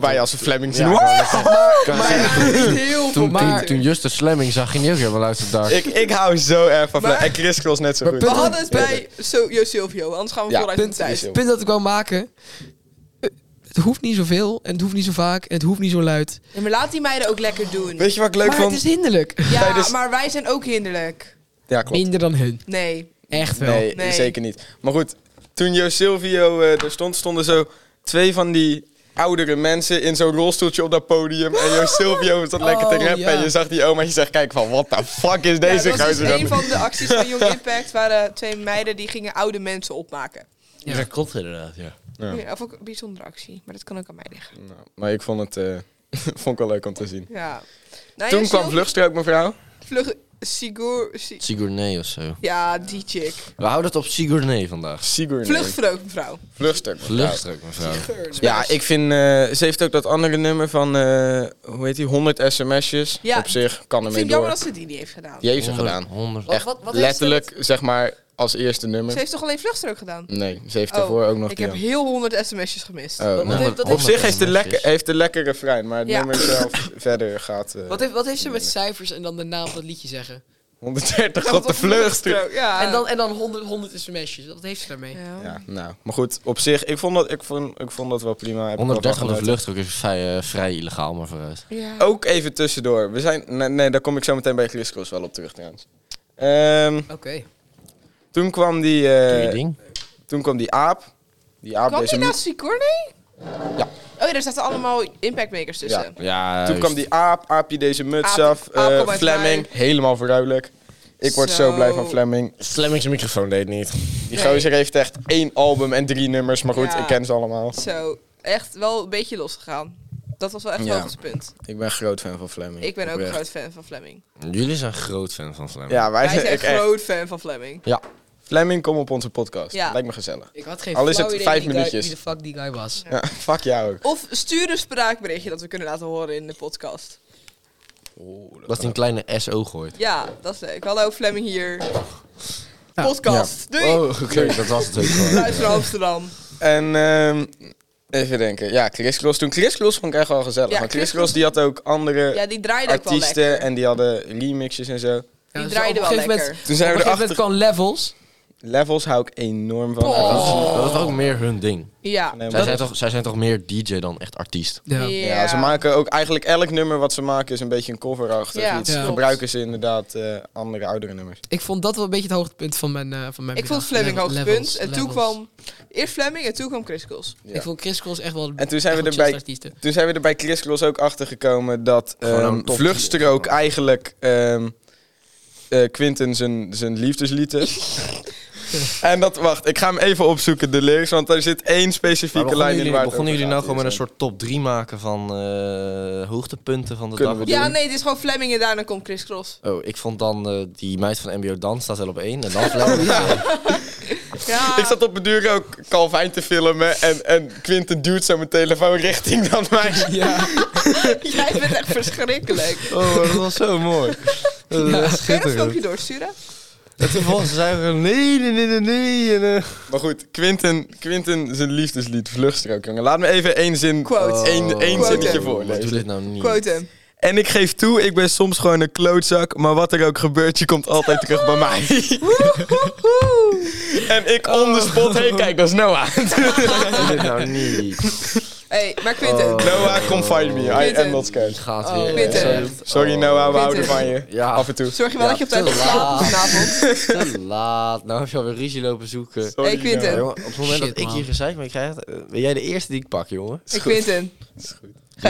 Speaker 1: Wij als een Flemings.
Speaker 4: Ja,
Speaker 2: Maar ja, heel veel
Speaker 4: Toen, toen,
Speaker 2: moeite.
Speaker 4: toen Justus Slemming zag, ging hij ook helemaal uit zijn dak.
Speaker 1: Ik, ik hou zo erg van
Speaker 2: Maar-
Speaker 1: Flemings. En Chris was net zo
Speaker 3: Maar
Speaker 1: goed.
Speaker 2: We
Speaker 3: punt-
Speaker 2: hadden het bij so Joost Silvio, anders gaan we
Speaker 1: Ja,
Speaker 2: vooruit in de
Speaker 3: Punt,
Speaker 2: tijd.
Speaker 1: is-
Speaker 3: het punt dat ik wou maken, eh, het hoeft niet zoveel en het hoeft niet zo vaak en het hoeft niet zo luid.
Speaker 2: Ja, maar laat die meiden ook lekker doen.
Speaker 1: Weet je wat ik leuk
Speaker 3: maar
Speaker 1: vond?
Speaker 3: het is hinderlijk.
Speaker 2: Ja,
Speaker 1: Nee, dus-
Speaker 2: maar wij zijn ook hinderlijk.
Speaker 1: Ja, klopt.
Speaker 3: Minder dan hun.
Speaker 2: Nee.
Speaker 3: Echt wel.
Speaker 1: Nee,
Speaker 2: Nee.
Speaker 1: zeker niet. Maar goed, toen Jo Silvio eh, er stond, stonden zo twee van die oudere mensen in zo'n rolstoeltje op dat podium. En Jo Silvio zat lekker te
Speaker 3: Oh,
Speaker 1: rappen.
Speaker 3: ja.
Speaker 1: En je zag die oma en je zegt, kijk van, what the fuck is
Speaker 2: Ja,
Speaker 1: deze
Speaker 2: dat was
Speaker 1: gozer
Speaker 2: dus
Speaker 1: aan
Speaker 2: een
Speaker 1: het-
Speaker 2: van de acties van Young Impact waren twee meiden die gingen oude mensen opmaken.
Speaker 3: Ja.
Speaker 4: Dat klopt inderdaad, ja.
Speaker 1: Ja.
Speaker 2: Ja, of ook een bijzondere actie, maar dat kan ook aan mij liggen.
Speaker 1: Nou, maar ik vond het eh, vond ik wel leuk om te zien.
Speaker 2: Ja. Nou,
Speaker 1: Toen
Speaker 2: ja,
Speaker 1: kwam
Speaker 2: Sil-
Speaker 1: Vluchtstrook, mevrouw.
Speaker 2: Vlug... Sigour... Si-
Speaker 4: Sigourney of zo.
Speaker 2: ja, die chick.
Speaker 4: We houden het op Sigourney vandaag.
Speaker 1: Sigourney.
Speaker 2: Vluchtvreugd, mevrouw.
Speaker 1: Vluchtstrook. mevrouw.
Speaker 4: Vluchtruk, mevrouw.
Speaker 1: Ja, ik vind... eh, ze heeft ook dat andere nummer van... eh, hoe heet die? 100 sms'jes.
Speaker 2: Ja.
Speaker 1: Op zich kan
Speaker 2: Ik
Speaker 1: ermee
Speaker 2: vind het
Speaker 1: door.
Speaker 2: jammer dat ze die niet heeft gedaan.
Speaker 1: Die heeft ze
Speaker 4: 100,
Speaker 1: gedaan.
Speaker 4: 100.
Speaker 3: Wat-
Speaker 1: Echt
Speaker 3: wat- wat heeft
Speaker 1: letterlijk, zeg maar, als eerste nummer.
Speaker 2: Ze heeft toch alleen vluchtstrook gedaan?
Speaker 1: Nee, ze heeft
Speaker 2: Oh,
Speaker 1: daarvoor ook nog...
Speaker 2: Ik
Speaker 1: die
Speaker 2: heb
Speaker 1: aan-
Speaker 2: heel honderd sms'jes gemist.
Speaker 1: Oh,
Speaker 3: Wat
Speaker 1: nou.
Speaker 3: heeft- dat heeft-
Speaker 1: Op zich heeft de,
Speaker 4: SMS
Speaker 1: lekker,
Speaker 4: is.
Speaker 1: heeft de lekkere refrein, maar het
Speaker 2: Ja.
Speaker 1: nummer zelf verder gaat... eh,
Speaker 3: Wat heeft, wat heeft ze met
Speaker 1: Nee.
Speaker 3: cijfers en dan de naam van het liedje zeggen?
Speaker 1: 130 op de vlucht.
Speaker 2: Ja.
Speaker 3: En dan, en dan 100, 100 sms'jes. Wat heeft ze daarmee?
Speaker 2: Ja.
Speaker 1: Ah. Ja, nou. Maar goed, op zich, ik vond dat, ik vond, ik vond dat wel prima. Heb ik wel
Speaker 4: 130 op de
Speaker 1: geluid.
Speaker 4: vluchtdruk is vrij, eh, vrij illegaal, maar vooruit.
Speaker 2: Ja.
Speaker 1: Ook even tussendoor. We zijn, nee, nee, daar kom ik zo meteen bij Gliscross wel op terug trouwens. Ehm,
Speaker 3: Oké.
Speaker 1: toen kwam die,
Speaker 4: Doe
Speaker 1: eh,
Speaker 4: je ding.
Speaker 1: toen kwam die aap. Die aap
Speaker 2: Kwam
Speaker 1: deze
Speaker 2: die nou
Speaker 1: mu-
Speaker 2: naast Sigourney?
Speaker 1: Ja.
Speaker 2: Oh ja, daar zaten allemaal impactmakers tussen.
Speaker 4: Ja,
Speaker 1: Toen
Speaker 4: juist.
Speaker 1: kwam die aap, aapje deze muts
Speaker 2: Aap-
Speaker 1: af.
Speaker 2: aap
Speaker 1: eh,
Speaker 2: komt uit
Speaker 1: Fleming, helemaal verduidelijk. Ik word zo.
Speaker 2: Zo.
Speaker 1: blij van Fleming.
Speaker 4: Slamming zijn microfoon deed niet.
Speaker 1: Die
Speaker 2: Nee.
Speaker 1: gozer heeft echt één album en drie nummers. Maar goed,
Speaker 2: Ja.
Speaker 1: ik ken ze allemaal.
Speaker 2: Zo, echt wel een beetje losgegaan. Dat was wel echt
Speaker 1: Ja.
Speaker 2: het hoogtepunt.
Speaker 1: Ik ben groot fan van Fleming.
Speaker 2: Ik ben ook een
Speaker 1: Oprecht.
Speaker 2: groot fan van Fleming.
Speaker 4: Jullie zijn groot fan van Slamming.
Speaker 1: Ja, wij,
Speaker 2: Wij zijn
Speaker 1: ik
Speaker 2: echt groot fan van Fleming.
Speaker 1: Fleming, kom op onze podcast.
Speaker 2: Ja.
Speaker 1: Lijkt me gezellig.
Speaker 3: Ik had geen
Speaker 1: Al is
Speaker 3: flauw
Speaker 1: het
Speaker 3: idee
Speaker 1: vijf
Speaker 3: wie die
Speaker 1: minuutjes.
Speaker 3: Guy, wie de fuck die guy was.
Speaker 1: Ja, fuck jou ook.
Speaker 2: Of stuur een spraakberichtje dat we kunnen laten horen in de podcast.
Speaker 4: Dat hij een kleine SO gooit.
Speaker 2: Ja, dat is leuk. Hallo Fleming hier.
Speaker 3: Ja.
Speaker 2: Podcast. Doei.
Speaker 1: Oh.
Speaker 4: Oh, oké. Dat was het ook gewoon.
Speaker 2: Luister naar Amsterdam.
Speaker 1: En ehm, even denken. Ja, Chris Cross. Toen Chris Cross vond ik echt wel gezellig.
Speaker 2: Ja,
Speaker 1: maar Chris
Speaker 2: Chris
Speaker 1: Cross die had ook andere
Speaker 2: Ja, die draaide ook wel lekker.
Speaker 1: artiesten. En die hadden remixes en zo.
Speaker 3: Ja, dus
Speaker 2: draaide
Speaker 3: op een
Speaker 2: wel
Speaker 3: gegeven moment-
Speaker 2: lekker.
Speaker 1: Toen zijn
Speaker 3: Op
Speaker 1: we
Speaker 3: een gegeven moment
Speaker 1: erachter.
Speaker 3: kwam Levels.
Speaker 1: Levels hou ik enorm van.
Speaker 4: Dat is- Dat is ook meer hun ding.
Speaker 2: Ja.
Speaker 1: Nee,
Speaker 4: Zij
Speaker 1: maar-
Speaker 4: zijn, toch, zij zijn toch meer DJ dan echt artiest?
Speaker 3: Ja.
Speaker 1: Ja, ze maken ook eigenlijk elk nummer wat ze maken is een beetje een cover achter.
Speaker 2: Ja,
Speaker 1: iets.
Speaker 3: klopt.
Speaker 1: Gebruiken ze inderdaad eh, andere oudere nummers.
Speaker 3: Ik vond dat wel een beetje het hoogtepunt van mijn eh, van mijn
Speaker 2: Ik vond
Speaker 3: middag.
Speaker 2: Fleming
Speaker 3: Level-
Speaker 2: hoogtepunt.
Speaker 3: levels,
Speaker 2: En toen
Speaker 3: levels.
Speaker 2: kwam... Eerst Fleming en toen kwam Chris Kools.
Speaker 1: Ja.
Speaker 3: Ik vond Chris Cross echt wel
Speaker 1: En toen zijn
Speaker 3: echt
Speaker 1: we
Speaker 3: wel
Speaker 1: er bij-
Speaker 3: chillste artiesten.
Speaker 1: Toen zijn we er bij Chris Cross ook achter gekomen dat
Speaker 4: Gewoon
Speaker 1: ehm,
Speaker 4: een top-
Speaker 1: vluchtstrook eigenlijk ehm eh, Quinten zijn, zijn liefdeslied is. en dat, wacht, ik ga hem even opzoeken, de lyrics, want er zit één specifieke lijn
Speaker 4: begonnen
Speaker 1: in
Speaker 4: jullie,
Speaker 1: waar het
Speaker 4: begonnen
Speaker 1: over
Speaker 4: jullie nou
Speaker 1: gaat dus,
Speaker 4: gewoon met een
Speaker 1: hier
Speaker 4: soort top 3 maken van eh, hoogtepunten van de
Speaker 1: Kunnen
Speaker 4: dag?
Speaker 1: we
Speaker 2: Ja,
Speaker 1: doen.
Speaker 2: nee, het is gewoon Fleming en daarna komt Chris Cross.
Speaker 4: Oh, ik vond dan eh, die meid van MBO Dans staat wel op één. En dan Fleming.
Speaker 2: Ja.
Speaker 1: zo. eh. Ik zat op mijn duur ook Calvin te filmen en, en Quinten duwt zo mijn telefoon richting dan mij.
Speaker 3: Ja.
Speaker 2: Jij bent echt verschrikkelijk.
Speaker 4: Oh, dat was zo mooi. Dat
Speaker 2: Kun
Speaker 4: was echt
Speaker 2: je dat
Speaker 4: schitterend.
Speaker 2: filmpje doorsturen?
Speaker 4: En toen volgens zei we nee, nee, nee, nee, nee. En, eh,
Speaker 1: Maar goed, Quinten, Quinten zijn liefdeslied, vluchtstrook, jongen. Laat me even één zin,
Speaker 4: Oh,
Speaker 1: eh,
Speaker 2: Quote.
Speaker 1: één, één
Speaker 2: Quote.
Speaker 1: zinnetje
Speaker 4: Wat Doe
Speaker 1: voorlezen.
Speaker 4: dit nou niet.
Speaker 2: Quote hem.
Speaker 1: En ik geef toe, ik ben soms gewoon een klootzak, maar wat er ook gebeurt, je komt altijd terug bij mij. en ik on the
Speaker 2: Oh.
Speaker 1: spot, hey, kijk, dat is Noah.
Speaker 4: Doe dit nou niet.
Speaker 2: hey, maar Quinten.
Speaker 4: Oh.
Speaker 1: Noah, come find me, I am
Speaker 2: Quinten.
Speaker 1: not
Speaker 4: Het
Speaker 1: scared.
Speaker 4: gaat
Speaker 2: Oh,
Speaker 4: weer.
Speaker 2: Quinten.
Speaker 4: Sorry.
Speaker 1: Sorry Noah, we houden
Speaker 2: Quinten.
Speaker 1: van je.
Speaker 4: Ja.
Speaker 1: Af en toe.
Speaker 2: Zorg je wel
Speaker 4: Ja,
Speaker 2: dat je op tijd
Speaker 4: te
Speaker 2: hebt geslapen
Speaker 4: laat.
Speaker 2: vanavond?
Speaker 4: Te laat. Nou heb je alweer ruzie lopen zoeken.
Speaker 1: Sorry,
Speaker 2: Hey,
Speaker 1: Noah.
Speaker 2: Quinten.
Speaker 4: Ja, jongen, op het moment
Speaker 3: Shit,
Speaker 4: dat ik
Speaker 3: man.
Speaker 4: hier gezeik mee krijg, eh, ben jij de eerste die ik pak, jongen.
Speaker 2: Hey, Quinten. Gep.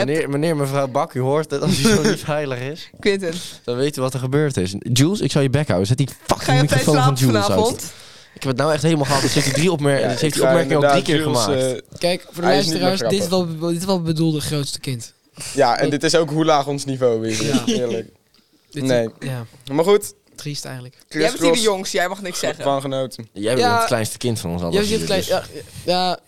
Speaker 4: Meneer, meneer mevrouw Bak, u hoort dat als u zo niet veilig is,
Speaker 2: Quinten.
Speaker 4: dan weet u wat er gebeurd is. Jules, ik zal je bek houden. Zet die
Speaker 2: Ga je
Speaker 4: fucking
Speaker 2: op tijd
Speaker 4: microfoon van
Speaker 2: slapen
Speaker 4: Jules uit.
Speaker 2: vanavond?
Speaker 4: Ik heb het nou echt helemaal gehad. Dus heeft hij drie opmer
Speaker 1: Ja,
Speaker 4: dus
Speaker 1: ik
Speaker 4: heeft die
Speaker 1: ga
Speaker 4: opmerking ook drie keer
Speaker 1: inderdaad
Speaker 4: gemaakt.
Speaker 1: Jules,
Speaker 3: Kijk, voor de
Speaker 1: Hij is niet meer
Speaker 3: luisteraars, dit is, wel, dit is wel bedoelde grootste kind.
Speaker 1: eh, ja, en dit is ook hoe laag ons niveau is.
Speaker 3: Ja.
Speaker 1: Eerlijk.
Speaker 3: Dit
Speaker 1: Nee.
Speaker 3: Ja,
Speaker 1: Maar goed,
Speaker 3: triest eigenlijk.
Speaker 2: Jij
Speaker 1: Chris
Speaker 2: bent hier de
Speaker 1: Cross,
Speaker 2: jongste, jij mag niks zeggen.
Speaker 1: van genoten.
Speaker 4: Jij bent
Speaker 3: Ja.
Speaker 4: het kleinste kind van ons allen.
Speaker 3: Jij zit
Speaker 4: hier,
Speaker 3: klein,
Speaker 4: dus.
Speaker 3: ja, ja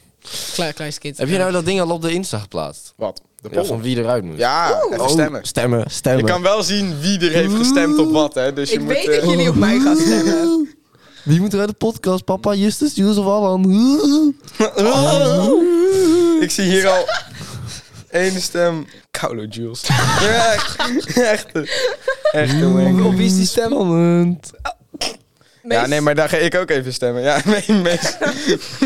Speaker 3: klein, kleinste kind.
Speaker 4: Heb je nou dat ding al op de Insta geplaatst?
Speaker 1: Wat? De
Speaker 4: Ja,
Speaker 1: poll?
Speaker 4: van wie eruit moet?
Speaker 1: Ja, even
Speaker 4: Oh,
Speaker 1: stemmen.
Speaker 4: Stemmen,
Speaker 1: Je
Speaker 4: stemmen.
Speaker 1: kan wel zien wie er heeft gestemd op wat, hè. Dus je
Speaker 2: Ik
Speaker 1: moet,
Speaker 2: weet
Speaker 1: eh,
Speaker 2: dat jullie op mij gaan stemmen.
Speaker 4: Wie moet er uit de podcast? Papa, Justus, Jules of Alan?
Speaker 1: Oh. Ik zie hier al één stem. Kaulo Jules. Ja, echt. Echt
Speaker 3: Op
Speaker 1: heel
Speaker 3: wie is die stem? Nou,
Speaker 4: Spannend.
Speaker 1: Ja, nee, maar daar ga ik ook even stemmen. Ja, mee, mee,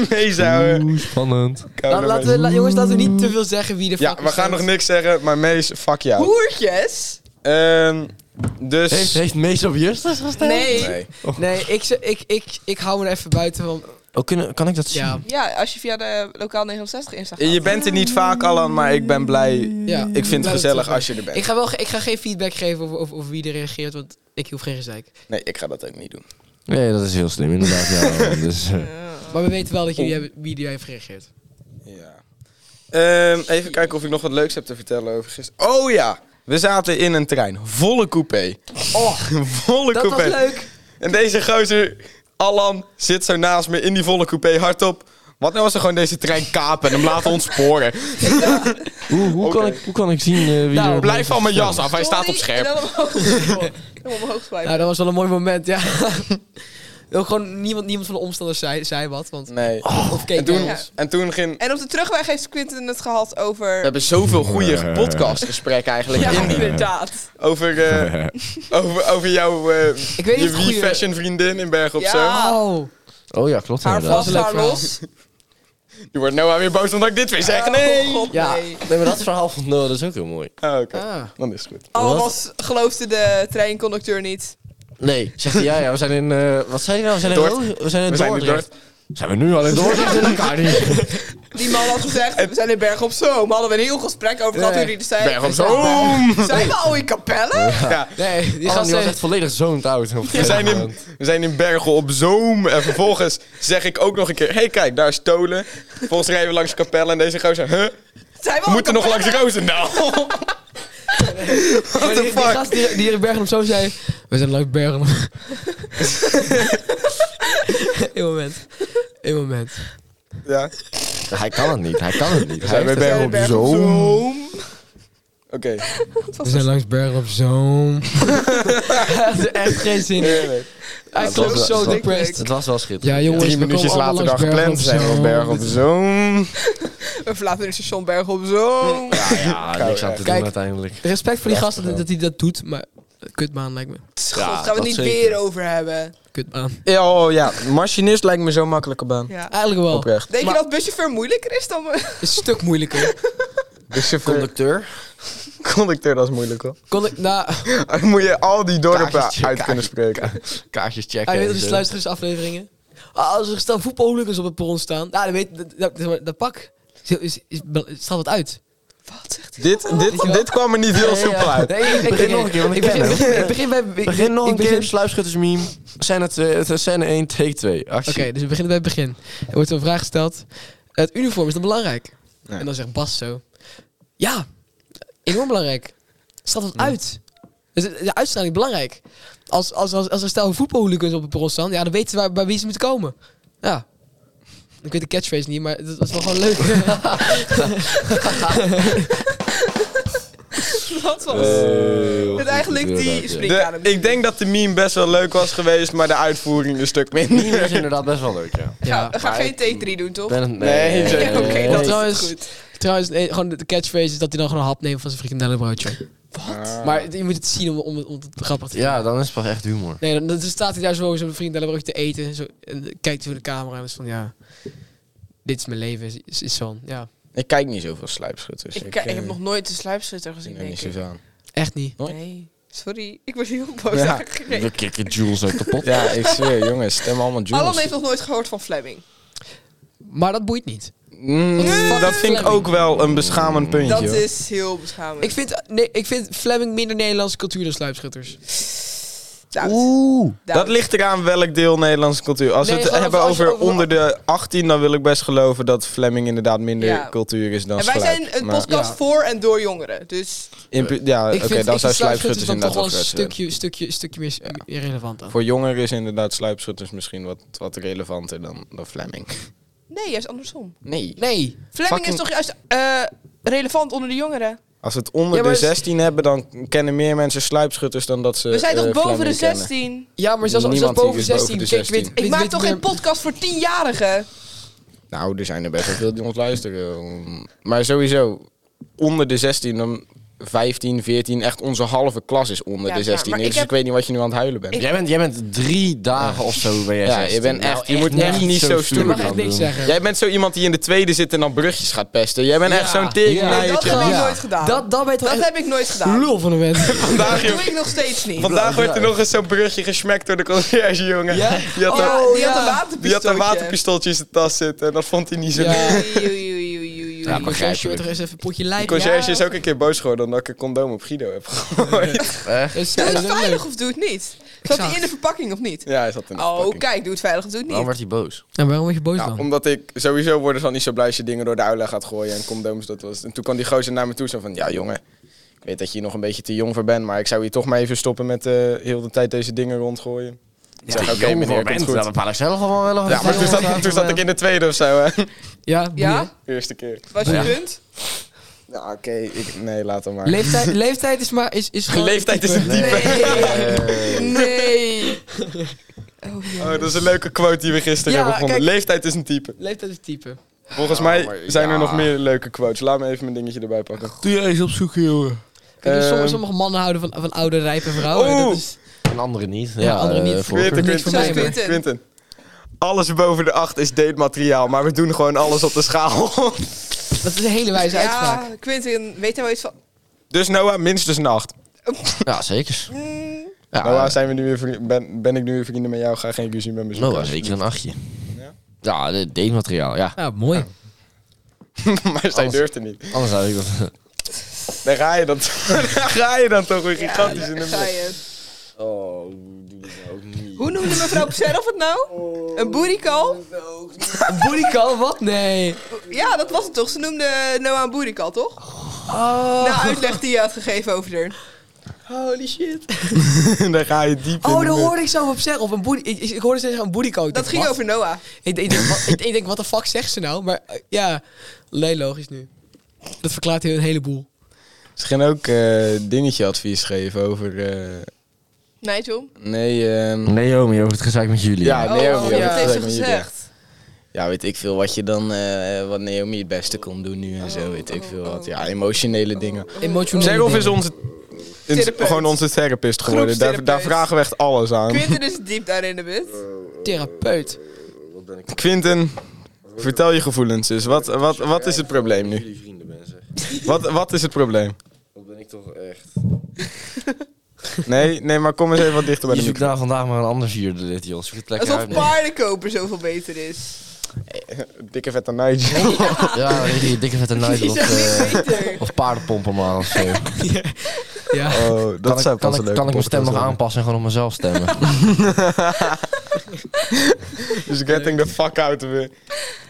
Speaker 1: mee zouden.
Speaker 4: Oeh, spannend.
Speaker 3: La- laten we, la- jongens, laten we niet te veel zeggen wie de fuck
Speaker 1: Ja, we gaan
Speaker 3: stemt.
Speaker 1: nog niks zeggen, maar Mees, fuck jou.
Speaker 2: Hoertjes?
Speaker 1: Ehm dus...
Speaker 4: Heeft, heeft Mees op Justus gestemd?
Speaker 2: Nee.
Speaker 1: Nee.
Speaker 3: Nee, ik, ze- ik, ik, ik hou me er even buiten van.
Speaker 4: Oh, kunnen, kan ik dat zien?
Speaker 3: Ja,
Speaker 2: Ja, als je via de lokaal 69 Insta gaat.
Speaker 1: Je bent er niet vaak, Alan, maar ik ben blij.
Speaker 3: ja.
Speaker 1: Ik vind het
Speaker 3: Laat
Speaker 1: gezellig
Speaker 3: terug.
Speaker 1: als je er
Speaker 3: Ik
Speaker 1: bent.
Speaker 3: ga, wel, ge- ik ga geen feedback geven over, over, over wie er reageert, want ik hoef geen gezeik.
Speaker 1: Nee, ik ga dat ook niet doen.
Speaker 4: Nee, dat is heel slim inderdaad. ja, dus, eh.
Speaker 3: Maar we weten wel dat jullie
Speaker 1: Oh.
Speaker 3: hebben, wie er heeft gereageerd.
Speaker 1: Ja. Ehm, even kijken of ik nog wat leuks heb te vertellen over gisteren. Oh ja, we zaten in een trein. Volle coupé.
Speaker 3: Oh,
Speaker 1: Volle
Speaker 3: dat was
Speaker 1: coupé.
Speaker 3: leuk.
Speaker 1: En deze gozer, Alan, zit zo naast me in die volle coupé hardop. Wat nou als ze gewoon deze trein kapen en hem laten ontsporen?
Speaker 4: hoe, hoe,
Speaker 1: Oké.
Speaker 4: kan ik, hoe kan ik zien eh, wie
Speaker 3: Nou,
Speaker 4: er...
Speaker 1: Blijf van mijn jas af, hij staat op
Speaker 2: Sorry,
Speaker 1: scherp.
Speaker 2: En dan omhoog, swipen. Dan omhoog swipen.
Speaker 3: Nou, dat was wel een mooi moment, ja. Ook gewoon niemand, niemand van de omstanders zei, zei wat. Want,
Speaker 1: Nee.
Speaker 3: of keek
Speaker 1: En toen,
Speaker 3: nergens.
Speaker 1: en toen ging...
Speaker 2: En op de terugweg heeft Quinten het gehad over...
Speaker 1: We hebben zoveel goede podcastgesprekken eigenlijk.
Speaker 2: Ja,
Speaker 1: in die-
Speaker 2: inderdaad.
Speaker 1: over, eh, over, over jouw eh,
Speaker 3: Ik weet niet
Speaker 1: je
Speaker 3: of het goede-
Speaker 1: fashion vriendin in Bergen op
Speaker 2: Ja.
Speaker 1: Zoom.
Speaker 3: Oh.
Speaker 4: Oh ja, klopt
Speaker 2: Haar
Speaker 4: inderdaad.
Speaker 2: vast,
Speaker 3: Dat is een leuk
Speaker 2: haar
Speaker 3: verhaal.
Speaker 2: los.
Speaker 1: Je wordt Noah weer boos omdat ik dit weer zeg. Nee!
Speaker 2: Oh, God,
Speaker 3: Ja.
Speaker 2: nee.
Speaker 4: Nee, maar dat verhaal van Noah, dat is ook heel mooi.
Speaker 1: Ah, oké.
Speaker 3: Ah.
Speaker 1: Dan is het goed.
Speaker 2: Almas geloofde de treinconducteur niet.
Speaker 4: Nee, zegt hij, ja, ja, we zijn in, eh, wat zei hij nou? We zijn in,
Speaker 1: Dort.
Speaker 4: Ro- we zijn in
Speaker 1: We zijn in
Speaker 4: Dordrecht. Zijn we nu al in Dordrecht? in elkaar niet.
Speaker 2: Die man had gezegd, we zijn in Berg op Zoom. Hadden we een heel gesprek over gehad
Speaker 3: Nee.
Speaker 2: toen hij er zei...
Speaker 1: Bergen op
Speaker 2: Zijn
Speaker 1: Zoom!
Speaker 2: we- Zijn we al in Capelle?
Speaker 1: Ja,
Speaker 3: Nee, die
Speaker 4: Die gast
Speaker 3: gast
Speaker 4: die was
Speaker 3: heeft...
Speaker 4: echt volledig zoned out. op
Speaker 1: we,
Speaker 4: een
Speaker 1: zijn in,
Speaker 4: moment.
Speaker 1: we zijn in Bergen op Zoom. En vervolgens zeg ik ook nog een keer... Hé, hey, kijk, daar is Tolen. Vervolgens rijden we langs Capelle en deze gozer... Huh?
Speaker 2: Zijn we
Speaker 1: We
Speaker 2: al
Speaker 1: moeten
Speaker 2: in
Speaker 1: nog langs Nou. Roosendaal.
Speaker 3: What
Speaker 1: the fuck?
Speaker 3: Die gast die, die hier in Bergen op zo zei... We zijn leuk Bergen op. Eén moment. Eén moment.
Speaker 1: ja.
Speaker 4: Hij kan het niet, hij kan het niet. Hij
Speaker 1: zijn bij
Speaker 4: heeft
Speaker 1: Bergen op
Speaker 2: Bergen op
Speaker 1: Zoom.
Speaker 2: Zoom.
Speaker 1: Oké.
Speaker 3: We zijn langs Bergen op Zoom. Hij had er echt geen zin in.
Speaker 1: heerlijk.
Speaker 3: Hij
Speaker 4: het was
Speaker 3: klonk
Speaker 4: wel-
Speaker 3: zo
Speaker 4: het was-
Speaker 3: depressed.
Speaker 4: Het was wel schitterend.
Speaker 3: Ja, jongens,
Speaker 1: Drie
Speaker 3: we
Speaker 1: minuutjes
Speaker 3: komen
Speaker 1: later
Speaker 3: allemaal
Speaker 1: dan
Speaker 3: langs Bergen op
Speaker 1: gepland zijn we op
Speaker 3: Zoom.
Speaker 1: Bergen op Zoom.
Speaker 2: We verlaten het station Berg op Zoom.
Speaker 4: Ja, ja, niks aan te
Speaker 3: Kijk.
Speaker 4: doen uiteindelijk.
Speaker 3: Respect voor die gasten dat, dat hij dat doet, maar... Kutbaan lijkt me.
Speaker 2: Dus God,
Speaker 4: Ja,
Speaker 2: gaan we het
Speaker 4: dat
Speaker 2: niet
Speaker 4: zeker.
Speaker 2: weer over hebben.
Speaker 3: Kutbaan.
Speaker 1: Ja, oh ja, machinist lijkt me zo'n makkelijke baan.
Speaker 2: Ja.
Speaker 3: Eigenlijk wel.
Speaker 1: Oprecht.
Speaker 2: Denk
Speaker 3: Maar-
Speaker 2: je dat buschauffeur moeilijker is dan... we-
Speaker 3: Is een stuk moeilijker.
Speaker 1: Dus je
Speaker 4: Conducteur.
Speaker 1: conducteur, dat is moeilijk hoor.
Speaker 3: Kon ik... Nou...
Speaker 1: Dan moet je al die dorpen
Speaker 4: Kaartjes checken,
Speaker 1: uit kunnen spreken.
Speaker 4: Kaartjes checken.
Speaker 3: Hij weet
Speaker 4: en
Speaker 3: al die
Speaker 4: zo.
Speaker 3: sluitgersafleveringen. Ah, als er staan voetbalhooligans op het perron staan. Nou, dan weet, dat, dat, zeg maar, dat pak. Is, is, is, staat wat uit.
Speaker 2: Wat zegt hij?
Speaker 1: Dit, dit, dit kwam er niet heel soepel uit.
Speaker 3: Nee, ik
Speaker 4: Begin nog een keer, want ik
Speaker 3: ik begin,
Speaker 4: ken hem.
Speaker 3: ik begin bij... ik-
Speaker 4: Begin nog
Speaker 3: ik
Speaker 4: een keer,
Speaker 3: begin-
Speaker 4: sluipschuttersmeme. Scène, twee- het is scène 1, take 2. Actie.
Speaker 3: Oké, dus we beginnen bij het begin. Er wordt zo'n vraag gesteld. Het uniform is dan belangrijk?
Speaker 1: Ja.
Speaker 3: En dan zegt Bas zo. Ja, enorm belangrijk. Staat wat uit. Dus de de uitstraling is belangrijk. Als, als, als, als er stel voetbalhooligans op het perron staan, ja, dan weten ze waar, bij wie ze moeten komen. Ja. Ik weet de catchphrase niet, maar dat was wel gewoon leuk.
Speaker 2: Dat was...
Speaker 4: Eh,
Speaker 2: Met eigenlijk
Speaker 4: goed,
Speaker 2: die
Speaker 4: inderdaad, ja.
Speaker 2: spring-
Speaker 1: De- ik denk dat de meme best wel leuk was geweest, maar de uitvoering een stuk minder.
Speaker 4: Meme is inderdaad best wel leuk, ja.
Speaker 2: Ga,
Speaker 3: ja.
Speaker 2: we gaan
Speaker 4: maar
Speaker 2: geen take 3 doen, toch?
Speaker 4: Ben het-
Speaker 1: Nee,
Speaker 2: Ja, Oké,
Speaker 3: nee,
Speaker 2: dat
Speaker 3: nee.
Speaker 2: is
Speaker 3: Trouwens-
Speaker 2: het goed.
Speaker 3: Trouwens, nee, gewoon de de catchphrase is dat hij dan gewoon een hap neemt van zijn frikandellenbroodje.
Speaker 1: Ah.
Speaker 3: Maar je moet het zien om, om, om het grappig te
Speaker 4: Ja, dan is het pas echt humor.
Speaker 3: Nee, dan, dan staat hij daar zo zijn frikandellenbroodje te eten. en Zo, en dan kijkt hij voor de camera en is van, ja, dit is mijn leven. Is, is, is zo'n, ja,
Speaker 1: Ik kijk niet zoveel sluipschutters.
Speaker 2: Ik, ik
Speaker 1: eh,
Speaker 2: heb nog nooit een sluipschutter
Speaker 1: zie
Speaker 2: gezien,
Speaker 1: er
Speaker 2: denk
Speaker 1: niet
Speaker 2: ik.
Speaker 1: zoveel aan.
Speaker 3: echt niet.
Speaker 1: nooit.
Speaker 2: Nee. Sorry, ik was heel boos
Speaker 1: Ja.
Speaker 2: eigenlijk.
Speaker 4: We kicken Jules ook kapot.
Speaker 1: Ja, ik zweer, jongens, stem allemaal
Speaker 2: Alan heeft
Speaker 1: Jules.
Speaker 2: nog nooit gehoord van Fleming.
Speaker 3: Maar dat boeit niet.
Speaker 1: Mm,
Speaker 3: Nee.
Speaker 1: dat vind ik ook wel een beschamend puntje.
Speaker 2: Dat
Speaker 1: hoor.
Speaker 2: is heel beschamend.
Speaker 3: Ik vind, nee, ik vind Fleming minder Nederlandse cultuur dan sluipschutters.
Speaker 1: Eh,
Speaker 2: Doubt.
Speaker 1: Oeh.
Speaker 2: Doubt.
Speaker 1: Dat ligt eraan welk deel Nederlandse cultuur. Als
Speaker 3: Nee,
Speaker 1: we het
Speaker 3: gewoon
Speaker 1: hebben
Speaker 3: als we
Speaker 1: over
Speaker 3: over-
Speaker 1: onder de 18, dan wil ik best geloven dat Fleming inderdaad minder
Speaker 2: Ja.
Speaker 1: cultuur is dan
Speaker 2: En wij
Speaker 1: sluip.
Speaker 2: zijn een
Speaker 1: Maar
Speaker 2: podcast
Speaker 3: Ja.
Speaker 2: voor en door jongeren. Dus
Speaker 1: in pu- ja,
Speaker 3: ik
Speaker 1: oké,
Speaker 3: vind,
Speaker 1: dan zijn
Speaker 3: ik vind sluipschutters
Speaker 1: sluipschutters
Speaker 3: dan toch
Speaker 1: inderdaad eh,
Speaker 3: wel
Speaker 1: wel
Speaker 3: een
Speaker 1: stuk.
Speaker 3: stukje, stukje, stukje meer, eh, meer relevant aan.
Speaker 1: Voor jongeren is inderdaad sluipschutters misschien wat, wat relevanter dan, dan Fleming.
Speaker 2: nee, juist andersom.
Speaker 1: Nee.
Speaker 3: Nee,
Speaker 2: Fleming
Speaker 1: Fucking-
Speaker 2: is toch juist eh, relevant onder de jongeren?
Speaker 1: Als we het onder
Speaker 3: Ja, maar
Speaker 1: de
Speaker 3: is-
Speaker 1: 16 hebben, dan kennen meer mensen sluipschutters dan dat ze.
Speaker 2: We zijn
Speaker 1: eh,
Speaker 2: toch boven de
Speaker 1: Fleming kennen.
Speaker 2: 16?
Speaker 3: ja, maar zelfs, zelfs
Speaker 1: Niemand die
Speaker 3: boven
Speaker 1: is boven
Speaker 3: 16.
Speaker 1: de
Speaker 3: Kijk, weet-
Speaker 1: 16.
Speaker 3: weet-
Speaker 2: Ik maak
Speaker 3: weet
Speaker 2: toch
Speaker 3: meer-
Speaker 2: geen podcast voor tienjarigen?
Speaker 1: Nou, er zijn er best wel veel die ons luisteren. Maar sowieso, onder de 16, dan 15, 14, echt onze halve klas is onder
Speaker 2: Ja,
Speaker 1: de
Speaker 2: ja,
Speaker 1: 16.
Speaker 2: maar
Speaker 1: dus
Speaker 2: ik
Speaker 1: ik,
Speaker 2: heb-
Speaker 1: weet niet wat je nu aan het huilen bent.
Speaker 4: Jij bent, jij bent drie dagen of zo ben jij
Speaker 1: Ja, je
Speaker 4: 16.
Speaker 1: bent echt- je moet echt niet zo stoer
Speaker 3: Je
Speaker 1: doen.
Speaker 3: mag
Speaker 4: gaan
Speaker 3: echt niks
Speaker 4: doen.
Speaker 3: zeggen.
Speaker 1: Jij bent zo iemand die in de tweede zit en dan brugjes gaat pesten. Jij bent echt
Speaker 3: Ja,
Speaker 1: zo'n tering.
Speaker 4: ja.
Speaker 2: Nee, dat heb ik
Speaker 4: Ja.
Speaker 2: nooit gedaan. Dat,
Speaker 3: Dat, dat weet je
Speaker 1: Eh,
Speaker 3: toch
Speaker 2: heb ik nooit
Speaker 3: echt
Speaker 2: gedaan.
Speaker 3: lul van een vent.
Speaker 2: Dat
Speaker 1: Vandaag,
Speaker 2: doe ik nog steeds niet.
Speaker 1: vandaag werd er nog eens zo'n brugje gesmekt door de conciërge, jongen. Die had,
Speaker 2: Oh, Ja,
Speaker 1: een,
Speaker 2: die had
Speaker 3: ja.
Speaker 2: een waterpistooltje.
Speaker 1: die had een waterpistooltje in zijn tas zitten en dat vond hij niet zo leuk.
Speaker 3: Ja.
Speaker 2: Oei, oei, oei, oei, oei.
Speaker 4: Ja, maar-
Speaker 3: Conciërge wordt er eens even een potje
Speaker 1: De
Speaker 3: lijf.
Speaker 1: conciërge
Speaker 2: Ja.
Speaker 1: is ook een keer boos geworden omdat ik een condoom op Guido heb gegooid.
Speaker 3: Dat is
Speaker 2: Doe het
Speaker 3: dat is leuk.
Speaker 2: veilig of doe het niet? Zat
Speaker 3: zag-
Speaker 2: hij in de verpakking of niet?
Speaker 1: Ja, hij zat in de
Speaker 2: Oh,
Speaker 1: verpakking.
Speaker 2: kijk, doe het veilig of doe het
Speaker 4: Waarom
Speaker 2: niet.
Speaker 4: werd hij boos?
Speaker 3: En waarom word je boos
Speaker 1: Nou,
Speaker 3: dan?
Speaker 1: omdat ik sowieso worden ze al niet zo blij als je dingen door de uilen gaat gooien en condooms. Dat was. En toen kwam die gozer naar me toe zo van, ja jongen, ik weet dat je hier nog een beetje te jong voor bent, maar ik zou hier toch maar even stoppen met eh, heel de tijd deze dingen rondgooien. Ik zeg, oké meneer, komt goed.
Speaker 4: dat bepaal ik zelf gewoon wel. of
Speaker 1: Ja,
Speaker 4: ik
Speaker 1: maar toen
Speaker 4: dat
Speaker 1: zat,
Speaker 4: wel-
Speaker 1: toen zat ik in de tweede of zo, hè.
Speaker 3: Ja, boeien.
Speaker 2: Ja?
Speaker 1: Eerste keer.
Speaker 2: Was je
Speaker 4: Ja.
Speaker 2: punt?
Speaker 1: Nou, oké, ik- nee, laat dan maar.
Speaker 3: Leeftijd, leeftijd is maar... Is, is gewoon
Speaker 1: Leeftijd is een
Speaker 3: type.
Speaker 1: diepe.
Speaker 2: Nee. Nee. Oh,
Speaker 1: Oh, dat is een leuke quote die we gisteren
Speaker 3: Ja,
Speaker 1: hebben gevonden.
Speaker 3: kijk.
Speaker 1: Leeftijd is een type.
Speaker 3: Leeftijd is type.
Speaker 1: Volgens
Speaker 4: Oh,
Speaker 1: mij
Speaker 4: maar
Speaker 1: zijn er
Speaker 4: ja.
Speaker 1: nog meer leuke quotes. Laat me even mijn dingetje erbij pakken.
Speaker 4: Doe je eens opzoeken, jongen.
Speaker 3: Kijk, dus
Speaker 1: Ehm.
Speaker 3: sommige, sommige mannen houden van, van oude, rijpe vrouwen.
Speaker 1: Oeh.
Speaker 3: Dat is,
Speaker 4: En anderen niet. Ja,
Speaker 3: Ja, anderen
Speaker 4: eh,
Speaker 3: niet.
Speaker 4: voor-
Speaker 1: Quinten,
Speaker 3: Niet
Speaker 1: Quinten,
Speaker 3: voor
Speaker 1: Quinten,
Speaker 2: mij,
Speaker 1: Quinten.
Speaker 2: maar-
Speaker 1: Quinten. Alles boven de 8 is datemateriaal, maar we doen gewoon alles op de schaal.
Speaker 3: dat is een hele wijze uitspraak.
Speaker 2: ja, Quinten, weet hij wel iets van...
Speaker 1: dus Noah, minstens een 8.
Speaker 4: Ja, zeker.
Speaker 2: Mm,
Speaker 4: Ja,
Speaker 1: Noah,
Speaker 4: Noah,
Speaker 1: zijn we nu weer vrienden- ben, ben ik nu weer vrienden met jou? Ga geen ruzie met me zoeken.
Speaker 4: eh, zeker een achtje.
Speaker 1: Ja?
Speaker 4: Ja, ja de- datemateriaal, ja.
Speaker 3: Ja, mooi.
Speaker 1: maar zij
Speaker 4: Alles.
Speaker 1: durft het niet.
Speaker 4: Anders had ik dat...
Speaker 1: Daar ga je dan, daar ga je dan toch weer
Speaker 2: ja,
Speaker 1: gigantisch in de
Speaker 2: daar ga
Speaker 1: mik.
Speaker 2: je.
Speaker 4: Oh, doe dat ook niet.
Speaker 2: Hoe noemde mevrouw Pserov het nou?
Speaker 1: Oh.
Speaker 2: Een boerikal?
Speaker 3: Boerikal, wat? Nee.
Speaker 2: Ja, dat was het toch? Ze noemde Noah een boerikal, toch?
Speaker 3: Oh.
Speaker 2: Na uitleg die je had gegeven over haar.
Speaker 3: Nou, Holy shit.
Speaker 1: daar ga je diep in
Speaker 3: Oh,
Speaker 1: de
Speaker 3: daar
Speaker 1: mik.
Speaker 3: hoorde ik zo op zeggen. Of een boer, ik, ik hoorde ze zeggen een boerikal. Ik
Speaker 2: Dat
Speaker 3: denk,
Speaker 2: ging
Speaker 3: wat?
Speaker 2: over Noah.
Speaker 3: Ik, ik, denk, wat, ik, ik denk, wat de fuck zegt ze nou? Maar eh, ja, nee, logisch nu. Dat verklaart heel een heleboel.
Speaker 1: Ze gaan ook eh, dingetje advies geven over... eh,
Speaker 2: Nigel?
Speaker 1: nee, ehm,
Speaker 4: Naomi, over het gezeik met jullie.
Speaker 1: Ja, Naomi, ja, dat
Speaker 2: Oh, dat heeft ze
Speaker 1: lijkt me niet
Speaker 2: gezegd.
Speaker 1: Ja, weet ik veel wat je dan... eh, wat Naomi het beste kon doen nu en zo,
Speaker 2: Oh,
Speaker 1: weet ik veel
Speaker 2: oh,
Speaker 1: wat.
Speaker 2: oh.
Speaker 1: Ja, emotionele dingen.
Speaker 3: Emotioneel.
Speaker 1: Zerof is
Speaker 3: dingen.
Speaker 1: onze, een-
Speaker 2: Therapeut.
Speaker 1: gewoon onze therapist geworden. Daar, daar
Speaker 2: Groepstherapeut.
Speaker 1: vragen we echt alles
Speaker 4: Um,
Speaker 1: aan. Quinten,
Speaker 2: Quinten is dus diep daarin de bit.
Speaker 4: Eh,
Speaker 3: therapeut.
Speaker 1: vertel je gevoelens dus. Wat, wat, wat is het probleem nu?
Speaker 4: Jullie vrienden ben, zeg.
Speaker 1: Wat, wat is het probleem?
Speaker 4: Dat ben ik toch echt...
Speaker 1: Nee, nee, maar kom eens even wat dichter bij
Speaker 4: Je
Speaker 1: de
Speaker 4: zoekt
Speaker 1: microfoon.
Speaker 4: nou vandaag maar een ander vierde lid, joh. Zoek het lekker
Speaker 2: Alsof
Speaker 4: uit.
Speaker 2: paardenkoper zoveel beter is.
Speaker 1: Dikke vette Nigel.
Speaker 4: Ja, die dikke vette
Speaker 2: Die
Speaker 4: nigel of,
Speaker 2: zegt niks
Speaker 4: eh,
Speaker 2: beter.
Speaker 4: of paardenpompen maar of zo.
Speaker 3: Ja.
Speaker 1: Oh, dat
Speaker 4: kan
Speaker 1: zou
Speaker 4: ik, kan
Speaker 1: pas
Speaker 4: ik,
Speaker 1: een leuke
Speaker 4: kan ik
Speaker 1: podcast
Speaker 4: mijn stem nog
Speaker 1: worden.
Speaker 4: aanpassen en gewoon op mezelf stemmen?
Speaker 1: Dus getting the fuck out of it.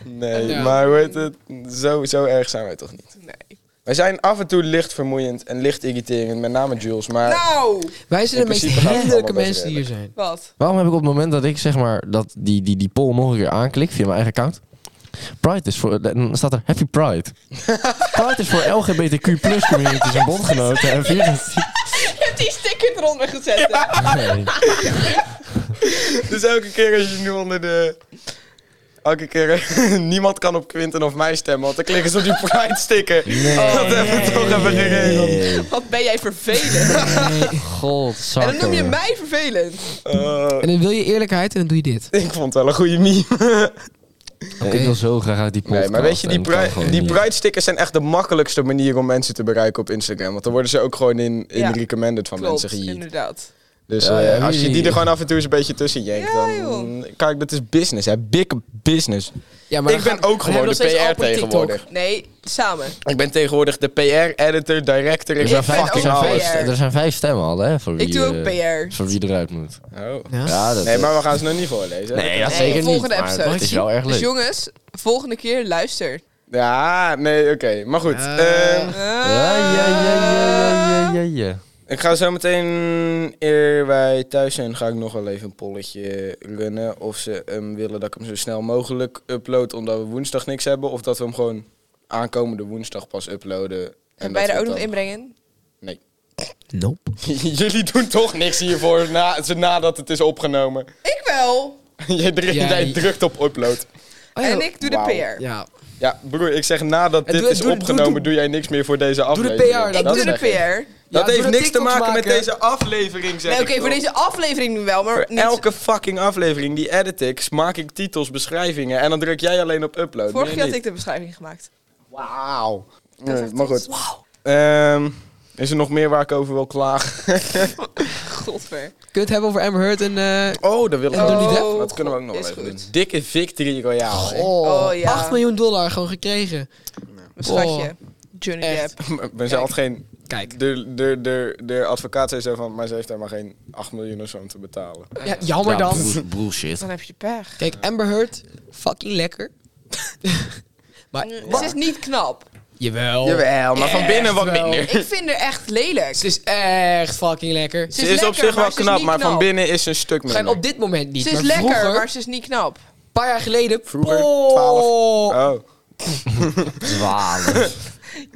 Speaker 1: Nee,
Speaker 3: Ja.
Speaker 1: maar hoe heet het? Zo, zo erg zijn wij toch niet.
Speaker 2: Nee.
Speaker 1: Wij zijn af en toe licht vermoeiend en licht irriterend, met name Jules. Maar
Speaker 2: Nou,
Speaker 3: Wij zijn de
Speaker 1: In
Speaker 3: meest
Speaker 1: principe gaat het
Speaker 3: vriendelijke
Speaker 1: allemaal best
Speaker 3: mensen die hier zijn.
Speaker 2: wat?
Speaker 4: Waarom heb ik op het moment dat ik zeg maar dat die, die, die poll nog een keer aanklik via mijn eigen account? Pride is voor. Dan staat er Happy Pride. Pride is voor LGBTQ plus communities en bondgenoten en virus.
Speaker 2: Je hebt die sticker eronder gezet. hè?
Speaker 4: Nee.
Speaker 1: Dus elke keer als je nu onder de... Elke keer niemand kan op Quinten of mij stemmen, want dan klikken ze op die pride sticker. dat hebben we toch even geregeld.
Speaker 4: Nee.
Speaker 2: Wat ben jij vervelend?
Speaker 4: God,
Speaker 2: En dan noem je mij vervelend.
Speaker 1: Eh,
Speaker 3: En dan wil je eerlijkheid en dan doe je dit.
Speaker 1: ik vond het wel een goede meme.
Speaker 4: Ik wil zo graag uit die podcast.
Speaker 1: Nee, maar weet je, die,
Speaker 4: en dat kan
Speaker 1: pri-
Speaker 4: gewoon
Speaker 1: die
Speaker 4: niet.
Speaker 1: pride stickers zijn echt de makkelijkste manier om mensen te bereiken op Instagram. Want dan worden ze ook gewoon in, in
Speaker 2: Ja.
Speaker 1: recommended van
Speaker 2: Klopt,
Speaker 1: mensen gejiet.
Speaker 2: inderdaad.
Speaker 1: Dus
Speaker 4: Ja,
Speaker 1: eh,
Speaker 4: ja,
Speaker 1: als je die
Speaker 4: wie-
Speaker 1: er gewoon af en toe eens een beetje tussen jenkt,
Speaker 2: Ja,
Speaker 1: dan...
Speaker 2: joh.
Speaker 1: Kijk, dat is business, hè. Big business.
Speaker 3: Ja, maar
Speaker 1: ik ben ook gewoon de PR tegenwoordig.
Speaker 2: Nee, samen.
Speaker 1: Ik ben tegenwoordig de PR, editor, director. Ik
Speaker 4: Er
Speaker 1: ben
Speaker 2: ben
Speaker 4: zijn, vijf,
Speaker 1: fucking
Speaker 4: er, zijn
Speaker 2: ook
Speaker 1: alles.
Speaker 4: vijf, er zijn vijf stemmen al, hè? Voor wie,
Speaker 2: Ik doe ook
Speaker 4: eh,
Speaker 2: PR.
Speaker 4: Voor wie eruit moet.
Speaker 1: Oh.
Speaker 3: Ja?
Speaker 4: Ja, dat
Speaker 1: Nee, maar we gaan ze nog niet voorlezen.
Speaker 4: Nee, dat
Speaker 2: Nee,
Speaker 4: zeker niet.
Speaker 2: volgende
Speaker 4: maar
Speaker 2: episode.
Speaker 4: Het is wel erg
Speaker 2: Dus
Speaker 4: leuk.
Speaker 2: jongens, volgende keer luister.
Speaker 1: Ja, nee, oké. Maar goed.
Speaker 3: Eh.
Speaker 1: ehm,
Speaker 4: Ja, ja, ja, ja,
Speaker 2: Ah.
Speaker 4: ja, ja, ja.
Speaker 1: ik ga zo meteen, eer wij thuis zijn, ga ik nog wel even een polletje runnen. Of ze hem willen dat ik hem zo snel mogelijk upload, omdat we woensdag niks hebben. Of dat we hem gewoon aankomende woensdag pas uploaden. En,
Speaker 2: En
Speaker 1: dat
Speaker 2: wij
Speaker 1: we
Speaker 2: er ook nog
Speaker 1: het
Speaker 2: inbrengen?
Speaker 3: Nope.
Speaker 1: dan- Jullie doen toch niks hiervoor na, ze- nadat het is opgenomen.
Speaker 2: Ik wel.
Speaker 1: Jij drukt,
Speaker 3: Ja,
Speaker 1: jij
Speaker 3: je-
Speaker 1: drukt op upload.
Speaker 4: Oh
Speaker 2: En ik doe de
Speaker 1: Wauw.
Speaker 2: PR.
Speaker 3: Ja.
Speaker 1: Ja, broer, ik zeg nadat
Speaker 3: En
Speaker 1: dit
Speaker 3: doe-
Speaker 1: is
Speaker 3: doe- doe-
Speaker 1: opgenomen, doe,
Speaker 3: doe-
Speaker 1: jij niks meer voor deze
Speaker 3: de
Speaker 1: aflevering.
Speaker 3: PR,
Speaker 2: Ik
Speaker 3: dat
Speaker 2: doe de
Speaker 1: zeg ik.
Speaker 2: PR.
Speaker 1: Dat
Speaker 3: Ja,
Speaker 1: heeft
Speaker 3: doe de
Speaker 1: niks te
Speaker 3: TikToks
Speaker 1: maken met
Speaker 3: maken.
Speaker 1: deze aflevering, zeg
Speaker 2: Nee, oké,
Speaker 1: ik
Speaker 2: voor
Speaker 1: toch?
Speaker 2: deze aflevering nu wel, maar
Speaker 1: Voor
Speaker 2: niet
Speaker 1: elke fucking aflevering die edit ik, maak ik titels, beschrijvingen en dan druk jij alleen op upload.
Speaker 3: Eh,
Speaker 2: Vorige keer
Speaker 1: Meer
Speaker 2: had ik
Speaker 1: niet.
Speaker 2: de beschrijving gemaakt.
Speaker 1: Wauw.
Speaker 2: is
Speaker 1: Nee,
Speaker 2: echt
Speaker 1: maar goed. Ehm, is er nog meer waar ik over wil klagen?
Speaker 2: Godver.
Speaker 3: Kun je het hebben over Amber Heard en... eh
Speaker 1: Oh, dat wil ik
Speaker 3: En
Speaker 1: nog.
Speaker 3: Johnny Depp?
Speaker 1: Dat kunnen we ook nog wel
Speaker 2: Is
Speaker 1: even
Speaker 2: goed.
Speaker 1: doen. Dikke Victory Royale. hè?
Speaker 3: oh,
Speaker 2: Oh, ja.
Speaker 3: 8 miljoen dollar gewoon gekregen.
Speaker 2: Mijn schatje. Johnny
Speaker 3: Echt.
Speaker 2: Depp.
Speaker 1: Maar ze had geen...
Speaker 3: Kijk.
Speaker 1: De, de, de, de advocaat zei zo van, maar ze heeft daar maar geen 8 miljoen of zo om te betalen.
Speaker 3: Ja, jammer
Speaker 4: Ja,
Speaker 3: dan.
Speaker 4: bull- Bullshit.
Speaker 2: Dan heb je pech.
Speaker 3: Kijk, Amber Heard, fucking lekker. maar,
Speaker 2: Mm, Ze is niet knap.
Speaker 3: Jawel.
Speaker 1: Oh. Jawel, maar van binnen wat
Speaker 3: wel.
Speaker 1: minder.
Speaker 2: Ik vind haar echt lelijk.
Speaker 3: Ze is echt fucking lekker.
Speaker 1: Ze is, op zich wel knap, maar van binnen is ze een stuk
Speaker 3: Zijn
Speaker 1: minder.
Speaker 3: op dit moment niet.
Speaker 2: Ze is
Speaker 3: maar
Speaker 2: lekker,
Speaker 3: vroeger,
Speaker 2: maar ze is niet knap.
Speaker 3: Een paar jaar geleden.
Speaker 1: Vroeger,
Speaker 3: oh,
Speaker 1: 12. Oh.
Speaker 4: Dwalen.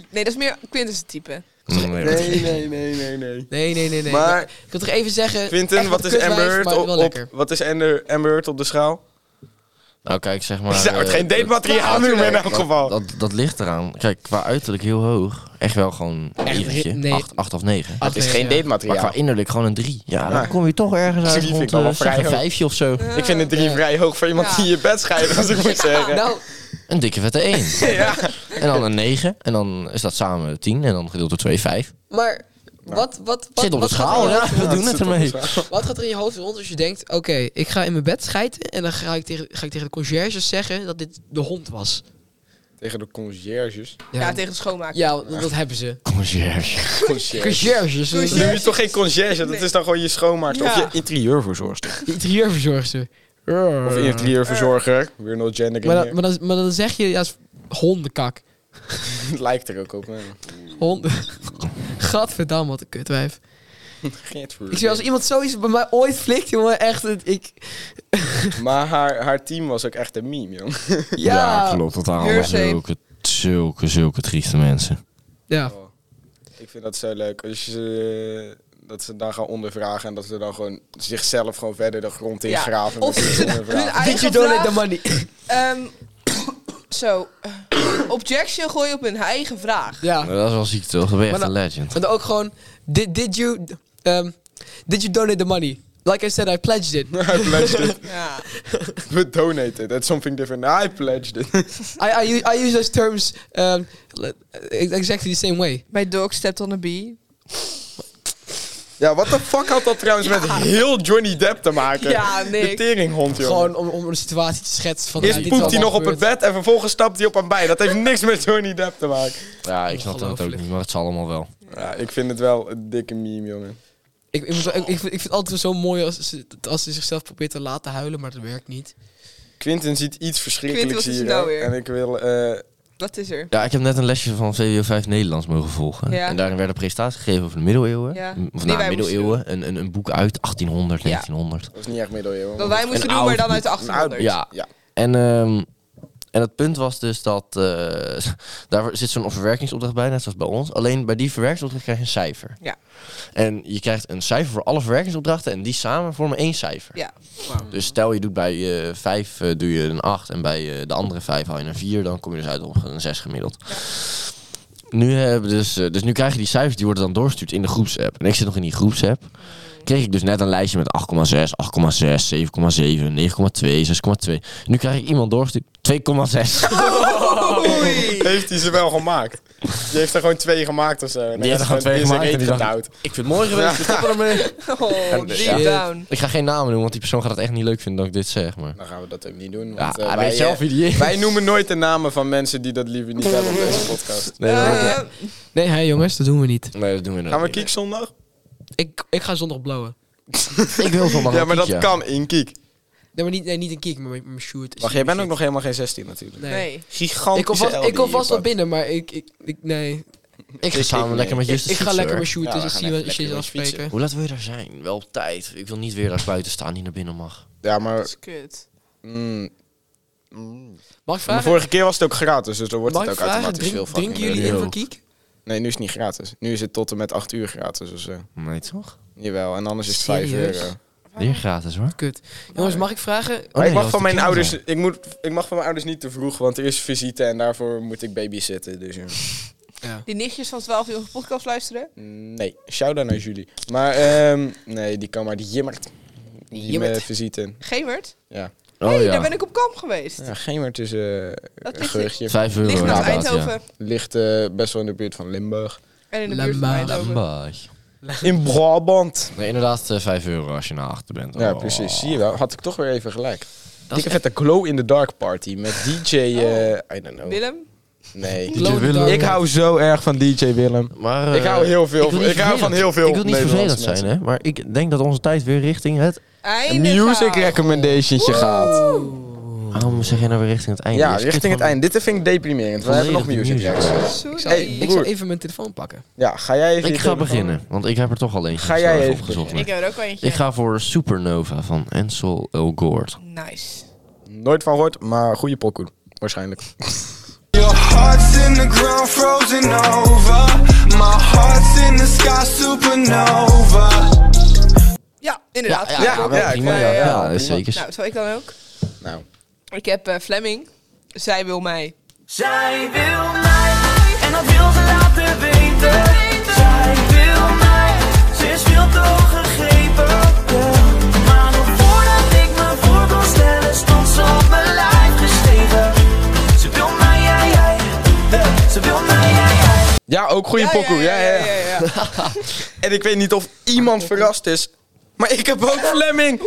Speaker 2: Nee, dat is meer Quintus type.
Speaker 4: Nee,
Speaker 1: Nee, nee, nee, nee, nee.
Speaker 3: Nee, nee, nee, nee.
Speaker 1: Maar
Speaker 3: Ik wil toch even zeggen...
Speaker 1: Quinten,
Speaker 3: echt
Speaker 1: wat is
Speaker 3: een
Speaker 1: Amber
Speaker 3: kutwijf,
Speaker 1: Heard
Speaker 3: maar
Speaker 1: op,
Speaker 3: wel
Speaker 1: op-
Speaker 3: lekker.
Speaker 1: wat is Amber, Amber Heard op de schaal?
Speaker 4: Nou, kijk, zeg maar.
Speaker 1: Ik zou het
Speaker 4: eh,
Speaker 1: geen datemateriaal
Speaker 4: dat-
Speaker 1: noemen in
Speaker 4: dat-
Speaker 1: elk geval.
Speaker 4: Dat, dat, ligt eraan. Kijk, qua uiterlijk heel hoog. Echt wel gewoon een
Speaker 3: Echt,
Speaker 4: negentje.
Speaker 3: nee.
Speaker 4: Acht, acht of negen.
Speaker 1: Het is geen
Speaker 3: Ja.
Speaker 4: Maar qua
Speaker 1: datemateriaal.
Speaker 4: innerlijk gewoon een drie. Ja,
Speaker 1: Ja.
Speaker 4: dan kom je toch ergens
Speaker 1: Drie
Speaker 4: uit
Speaker 1: Ah. vind ik
Speaker 4: rond
Speaker 1: wel
Speaker 4: eh,
Speaker 1: vrij
Speaker 4: zeg een
Speaker 1: hoog.
Speaker 4: vijfje of zo.
Speaker 1: Ik vind het drie
Speaker 3: Ja.
Speaker 1: vrij hoog voor iemand
Speaker 2: Ja.
Speaker 1: die je bed scheidt, als ik moet zeggen.
Speaker 3: Nou,
Speaker 4: Een dikke vette één.
Speaker 1: Ja.
Speaker 4: En dan een negen. En dan is dat samen tien. En dan gedeeld door twee, vijf.
Speaker 3: maar wat, wat, wat,
Speaker 4: Zit op de
Speaker 3: wat gaat er
Speaker 4: schaal,
Speaker 3: in je
Speaker 4: Oh, ja. We doen het ermee.
Speaker 3: hoofd- Wat gaat er in je hoofd rond als je denkt... Oké, ik ga in mijn bed schijten en dan ga ik, tegen, ga ik tegen de conciërge zeggen dat dit de hond was.
Speaker 1: Tegen de conciërges.
Speaker 2: Ja, tegen de schoonmaker.
Speaker 3: Ja, want dat hebben ze.
Speaker 4: Conciërge.
Speaker 1: Conciërge.
Speaker 3: Conciërges. eh,
Speaker 1: Dat
Speaker 2: Conciërge.
Speaker 3: De
Speaker 1: is toch geen conciërge, dat
Speaker 2: Nee.
Speaker 1: is dan gewoon je schoonmaakster.
Speaker 2: Ja.
Speaker 1: Of je interieurverzorgster.
Speaker 3: interieurverzorgster.
Speaker 1: Of interieurverzorger.
Speaker 4: Eh.
Speaker 1: Weer no gender in
Speaker 3: Eh. Maar, dan-
Speaker 1: here.
Speaker 3: maar, dan, maar dan zeg je, ja, is hondenkak.
Speaker 1: Het lijkt er ook op. hè.
Speaker 3: Honden. Gadverdamme, wat een kutwijf.
Speaker 1: Geert
Speaker 3: Ik zie als iemand zoiets bij mij ooit flikt, jongen, echt, het- ik...
Speaker 1: Maar haar, haar team was ook echt een meme, jong.
Speaker 3: Ja,
Speaker 4: klopt. Dat waren
Speaker 2: allemaal Hearsay.
Speaker 4: zulke, zulke trieste mensen.
Speaker 3: Ja,
Speaker 1: Oh. Ik vind dat zo leuk. Als je ze, eh, dat ze dan gaan ondervragen en dat ze dan gewoon zichzelf gewoon verder de grond in
Speaker 2: Ja.
Speaker 1: graven.
Speaker 2: Of
Speaker 1: met
Speaker 2: ze-
Speaker 1: ondervragen.
Speaker 2: hun eigen-
Speaker 3: Did you donate
Speaker 2: vraag?
Speaker 3: the money?
Speaker 2: Ehm, zo. Objection gooi je op een eigen vraag.
Speaker 3: ja.
Speaker 4: Dat is wel ziek toch? Dat ben je
Speaker 3: Maar
Speaker 4: echt een legend.
Speaker 3: En dan ook gewoon, did, did you... ehm, did you donate the money? Like I said, I pledged it.
Speaker 1: I pledged it.
Speaker 2: Ja.
Speaker 1: We donated. That's something different. I pledged it.
Speaker 3: I, I, u- I use those terms ehm, exactly the same way.
Speaker 2: Mijn dog stepped on a bee.
Speaker 1: ja, wat de fuck had dat trouwens met heel Johnny Depp te maken?
Speaker 2: Ja, niks.
Speaker 1: De teringhond, joh.
Speaker 3: Gewoon om, om een situatie te schetsen van... ja,
Speaker 1: Eerst
Speaker 3: dit is
Speaker 1: poept hij nog
Speaker 3: allemaal
Speaker 1: op het
Speaker 3: gebeurd.
Speaker 1: bed en vervolgens stapt hij op aan bij. Dat heeft niks met Johnny Depp te maken.
Speaker 4: Ja, ik snap dat ook
Speaker 3: Ongelooflijk.
Speaker 4: niet, maar het zal allemaal wel.
Speaker 1: Ja, ik vind het wel een dikke meme, jongen.
Speaker 3: Ik, ik, moet wel- ik, ik vind- ik vind het altijd zo mooi als ze, als ze zichzelf probeert te laten huilen, maar dat werkt niet.
Speaker 1: Quinten ziet iets
Speaker 2: Quinten,
Speaker 1: verschrikkelijks
Speaker 2: wat is
Speaker 1: hier.
Speaker 2: het nou
Speaker 1: hè.
Speaker 2: weer?
Speaker 1: En ik wil... eh,
Speaker 2: Dat is er.
Speaker 4: Ja, ik heb net een lesje van VWO 5 Nederlands mogen volgen.
Speaker 2: Ja.
Speaker 4: En daarin werd een presentatie gegeven over de middeleeuwen.
Speaker 2: Ja.
Speaker 4: M- Of
Speaker 2: Die
Speaker 4: na
Speaker 2: wij
Speaker 4: middeleeuwen. Een, een, een boek uit 1800,
Speaker 2: Ja.
Speaker 4: 1900.
Speaker 1: dat is niet echt middeleeuwen.
Speaker 2: Dat wij moesten
Speaker 4: Een
Speaker 2: doen, maar
Speaker 4: oud
Speaker 2: dan uit de
Speaker 1: Een oud-
Speaker 3: Nou,
Speaker 2: 1800.
Speaker 4: Ja.
Speaker 1: Ja.
Speaker 4: En, ehm, en het punt was dus dat... eh, daar zit zo'n verwerkingsopdracht bij, net zoals bij ons. Alleen bij die verwerkingsopdracht krijg je een cijfer.
Speaker 2: Ja.
Speaker 4: En je krijgt een cijfer voor alle verwerkingsopdrachten. En die samen vormen één cijfer.
Speaker 2: Ja.
Speaker 4: Dus stel je doet bij eh 5 eh, doe je een 8 en bij eh, de andere 5 haal je een 4, dan kom je dus uit op een 6 gemiddeld. Nu hebben dus, eh, dus nu krijg je die cijfers, die worden dan doorgestuurd in de groepsapp. En ik zit nog in die groepsapp. Kreeg ik dus net een lijstje met 8,6, 8,6, 7,7, 9,2, 6,2. Nu krijg ik iemand doorgestuurd, 2,6.
Speaker 1: Heeft hij ze wel gemaakt? Die heeft er gewoon twee gemaakt of zo. En
Speaker 4: Die heeft er gewoon
Speaker 1: is
Speaker 4: twee gemaakt
Speaker 1: reet
Speaker 4: en die dacht-
Speaker 1: getouwd.
Speaker 4: ik vind het mooi geweest, we stoppen ermee.
Speaker 2: Oh,
Speaker 4: En,
Speaker 2: deep
Speaker 4: ja.
Speaker 2: down.
Speaker 4: Ik ga geen namen noemen, want die persoon gaat het echt niet leuk vinden dat ik dit zeg. Maar.
Speaker 1: Dan gaan we dat ook niet doen.
Speaker 4: Ja,
Speaker 1: Nou, Want, eh,
Speaker 4: hij
Speaker 1: wij,
Speaker 4: weet zelf
Speaker 1: eh,
Speaker 4: wie die is.
Speaker 1: wij noemen nooit de namen van mensen die dat liever niet hebben op deze podcast.
Speaker 4: Nee, dat,
Speaker 2: Eh,
Speaker 3: Nee, hé jongens, dat doen we niet.
Speaker 4: nee, dat doen we
Speaker 1: Gaan we
Speaker 4: inderdaad
Speaker 1: kiek
Speaker 4: niet.
Speaker 1: zondag?
Speaker 3: Ik, ik ga zondag blowen.
Speaker 4: Ik wil zondag
Speaker 1: Ja,
Speaker 4: wel
Speaker 1: maar
Speaker 4: kiek,
Speaker 1: dat kan in kiek.
Speaker 3: Nee, maar niet, nee, niet een kick, maar met mijn shoot.
Speaker 1: Wacht, jij bent ook nog helemaal geen 16 natuurlijk.
Speaker 3: Nee.
Speaker 2: nee.
Speaker 1: Gigantisch.
Speaker 3: Ik kom vast, ik kom vast wel binnen, maar ik... ik, ik nee,
Speaker 4: Ik ga
Speaker 1: Ik-
Speaker 4: samen
Speaker 1: Dus ik-
Speaker 4: lekker met
Speaker 1: ik-
Speaker 3: ik,
Speaker 4: Justus
Speaker 3: ik ga
Speaker 4: fietsen,
Speaker 3: lekker
Speaker 4: hoor.
Speaker 3: mijn shoot,
Speaker 1: Ja,
Speaker 3: dus
Speaker 1: we
Speaker 3: ik
Speaker 1: gaan
Speaker 3: zie
Speaker 1: even
Speaker 3: wel shit
Speaker 1: lekker weer
Speaker 3: afspreken.
Speaker 4: Hoe laat wil je daar zijn? Wel op tijd. Ik wil niet weer daar buiten staan die naar binnen mag.
Speaker 1: Ja,
Speaker 2: Dat
Speaker 1: maar...
Speaker 2: is kut.
Speaker 1: mm, mm.
Speaker 3: Mag ik
Speaker 1: Maar
Speaker 3: Dus- vragen,
Speaker 1: vorige keer was het ook gratis, dus dan wordt
Speaker 3: mag
Speaker 1: het
Speaker 3: ik
Speaker 1: ook
Speaker 3: vragen
Speaker 1: automatisch
Speaker 3: drink,
Speaker 1: veel
Speaker 3: drinken
Speaker 1: fucking
Speaker 3: jullie
Speaker 1: leuk.
Speaker 4: leuk.
Speaker 3: even kiek?
Speaker 1: Nee, nu is het niet gratis. Nu is het tot en met 8 uur gratis of zo.
Speaker 4: Nee, toch?
Speaker 1: Jawel, en anders is het 5
Speaker 3: Serieus?
Speaker 1: euro.
Speaker 4: Weer gratis hoor.
Speaker 3: Kut. Jongens, mag ik vragen...
Speaker 4: Oh,
Speaker 1: Maar
Speaker 4: nee,
Speaker 1: ik mag
Speaker 4: dat
Speaker 1: van
Speaker 4: was de
Speaker 1: mijn ouders,
Speaker 4: kinderen.
Speaker 1: ik, moet, ik mag van mijn ouders niet te vroeg, want er is visite en daarvoor moet ik babysitten. Dus ja.
Speaker 2: Die nichtjes van 12 uur op de podcast luisteren?
Speaker 1: nee, shout-out naar Julie. Maar ehm, nee, die kan maar die jimmert. Die
Speaker 3: Jimmert.
Speaker 1: met visite.
Speaker 2: Gemert?
Speaker 1: Ja.
Speaker 4: Oh
Speaker 2: Daar
Speaker 4: ja.
Speaker 2: ben ik op kamp geweest.
Speaker 1: ja, gimmert is eh,
Speaker 2: Dat
Speaker 1: een
Speaker 2: ligt-
Speaker 1: geurtje.
Speaker 4: Vijf euro.
Speaker 2: Ligt
Speaker 1: Ja,
Speaker 2: naast
Speaker 1: inderdaad,
Speaker 2: Eindhoven
Speaker 1: Ligt eh, best wel in de buurt van Limburg.
Speaker 2: en in de buurt van
Speaker 3: Lemma.
Speaker 2: Eindhoven.
Speaker 1: In Brabant.
Speaker 4: Nee, inderdaad eh, vijf euro als je naar achter bent.
Speaker 1: Ja,
Speaker 4: Oh.
Speaker 1: precies. Zie je wel, had ik toch weer even gelijk.
Speaker 3: Dat is
Speaker 1: Dikke vette glow in the dark party met DJ, eh, I don't know.
Speaker 2: Willem?
Speaker 1: Nee.
Speaker 4: DJ Willem.
Speaker 1: Ik hou zo erg van DJ Willem.
Speaker 4: Maar,
Speaker 1: Ik
Speaker 4: eh,
Speaker 1: hou heel veel
Speaker 4: wil
Speaker 1: van-
Speaker 4: niet
Speaker 1: ik hou van
Speaker 4: vervelend-
Speaker 1: heel veel
Speaker 4: Ik wil niet
Speaker 1: Nederlandse
Speaker 4: vervelend zijn, hè? Maar ik denk dat onze tijd weer richting het.
Speaker 2: Einde
Speaker 1: Music
Speaker 2: gaat.
Speaker 1: recommendationtje gaat.
Speaker 4: Waarom zeg je nou weer richting het einde?
Speaker 1: Ja,
Speaker 4: Je skipt
Speaker 1: richting het
Speaker 4: gewoon-
Speaker 1: einde. Dit vind ik deprimerend. We hebben nog
Speaker 4: Volledig
Speaker 1: music
Speaker 4: music.
Speaker 1: tracks.
Speaker 2: Sorry.
Speaker 1: Hey,
Speaker 3: Ik zal even mijn telefoon pakken.
Speaker 1: Ja, ga jij even... je
Speaker 4: Ik ga
Speaker 1: telefoon-
Speaker 4: beginnen, want ik heb er toch al eentje.
Speaker 1: Ga
Speaker 4: snel
Speaker 1: jij
Speaker 4: even
Speaker 1: even
Speaker 4: opgezocht.
Speaker 2: Ik heb er ook wel eentje.
Speaker 4: Ik ga voor Supernova van Ansel Elgort.
Speaker 2: Nice.
Speaker 1: Nooit van gehoord, maar goede pokoe. Waarschijnlijk.
Speaker 5: Your heart's in the ground, frozen over. My heart's in the sky, supernova.
Speaker 2: Ja, inderdaad.
Speaker 1: ja, ja,
Speaker 4: wel
Speaker 1: ik
Speaker 4: prima,
Speaker 1: vond-
Speaker 4: ja.
Speaker 1: ja,
Speaker 4: Ja,
Speaker 1: ja,
Speaker 4: dat is
Speaker 1: prima.
Speaker 4: zeker.
Speaker 2: Nou, zal ik dan ook?
Speaker 1: Nou,
Speaker 2: Ik heb eh, Flemming. Zij wil mij.
Speaker 5: Zij wil mij en dat wil ze laten weten. Zij wil mij, ze is veel te hoog gegrepen. yeah. Maar nog voordat ik me voor kon stellen, stond ze op mijn lijf gestegen. Ze wil mij, jij, jij, yeah. ze wil mij, jij, jij.
Speaker 1: ja, ook goede pokoe. Ja, ja, ja.
Speaker 2: Ah, ja, ja.
Speaker 1: En ik weet niet of iemand verrast is, maar ik heb ook Fleming.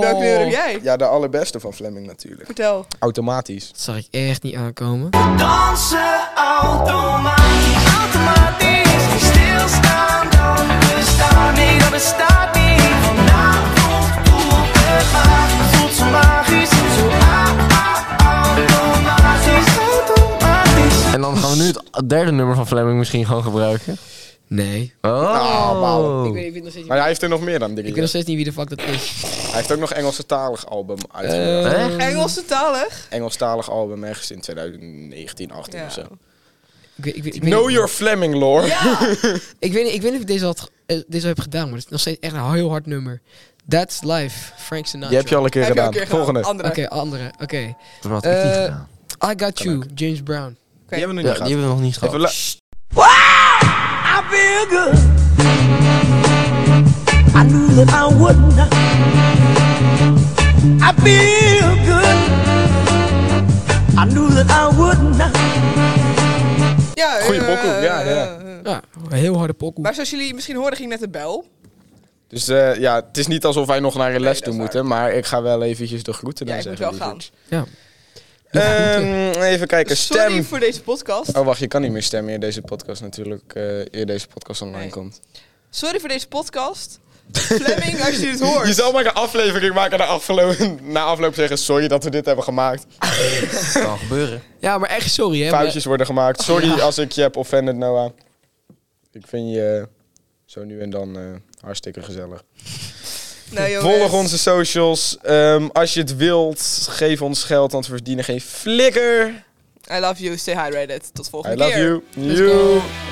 Speaker 2: Welke kleur heb jij?
Speaker 1: Ja, de allerbeste van Fleming natuurlijk.
Speaker 2: Vertel.
Speaker 1: Automatisch.
Speaker 3: Dat zag ik echt niet aankomen.
Speaker 5: Dansen automatisch, automatisch. Stilstaan, dan bestaan, nee dat bestaat niet. Vanavond voelt het magisch, voelt zo magisch. Zo ah, ah, automatisch, automatisch.
Speaker 4: En dan gaan we nu het derde nummer van Fleming misschien gewoon gebruiken.
Speaker 3: Nee.
Speaker 4: Oh.
Speaker 1: Ah, wauw.
Speaker 3: Ik weet, ik weet nog steeds
Speaker 1: Maar
Speaker 3: niet.
Speaker 1: hij heeft er nog meer dan drie.
Speaker 3: Ik weet nog steeds niet wie de fuck dat is.
Speaker 2: dus-
Speaker 1: Hij heeft ook nog Engelstalig album uitgebracht.
Speaker 4: Hè?
Speaker 2: Engelse talig.
Speaker 1: Engelstalig album ergens in 2019, 18 of zo.
Speaker 3: Ik weet, ik, weet, ik, weet,
Speaker 1: Know
Speaker 3: niet-
Speaker 1: your Fleming, lore.
Speaker 3: ik, weet, niet- ik weet niet of ik deze, had, ge- eh, deze al heb gedaan, maar het is nog steeds echt een heel hard nummer. That's Life, Frank Sinatra.
Speaker 1: Die heb je al een keer
Speaker 2: Heb je al
Speaker 1: gedaan.
Speaker 2: een keer gedaan.
Speaker 1: Volgende.
Speaker 2: Andere.
Speaker 3: Oké, andere. Oké.
Speaker 4: Dat had ik niet
Speaker 3: Eh,
Speaker 4: gedaan.
Speaker 3: I Got You, James Brown.
Speaker 1: Die hebben we
Speaker 4: Ja,
Speaker 1: nog
Speaker 4: die
Speaker 1: niet
Speaker 4: hebben we nog niet
Speaker 1: gehad.
Speaker 4: gehad.
Speaker 1: Even lu-
Speaker 5: I feel good. I knew that I would not. I feel good. I knew that I would not.
Speaker 2: Ja,
Speaker 1: Goeie
Speaker 2: eh,
Speaker 1: pokoe, ja,
Speaker 2: eh,
Speaker 1: ja.
Speaker 2: eh.
Speaker 3: Ja, een heel harde pokoe.
Speaker 2: Maar zoals jullie misschien hoorden, ging net de bel.
Speaker 1: Dus eh, ja, het is niet alsof wij nog naar een les
Speaker 2: dat
Speaker 1: toe
Speaker 2: is
Speaker 1: moeten. Maar ik ga wel eventjes de groeten
Speaker 2: Ja,
Speaker 1: dan
Speaker 2: ik moet
Speaker 1: zeggen.
Speaker 2: wel gaan.
Speaker 3: Ja.
Speaker 1: Ehm, even kijken,
Speaker 2: Sorry
Speaker 1: stem.
Speaker 2: voor deze podcast.
Speaker 1: Oh, wacht, je kan niet meer stemmen eer deze podcast natuurlijk, eh eer deze podcast online
Speaker 2: Nee.
Speaker 1: komt.
Speaker 2: Sorry voor deze podcast. Fleming, als je dit hoort.
Speaker 1: Je zou maar een aflevering maken en na afloop, na afloop zeggen, sorry dat we dit hebben gemaakt.
Speaker 4: kan gebeuren.
Speaker 3: ja, maar echt sorry hè. maar-
Speaker 1: Foutjes worden gemaakt. Sorry als ik je heb offended, Noah. Ik vind je eh, zo nu en dan eh, hartstikke gezellig.
Speaker 2: Nou, jongens.
Speaker 1: Volg onze socials. Ehm, als je het wilt, geef ons geld, want we verdienen geen flikker.
Speaker 2: I love you. Stay hydrated. Tot volgende
Speaker 1: I love
Speaker 2: keer.
Speaker 1: you.
Speaker 3: Let's go.
Speaker 1: You.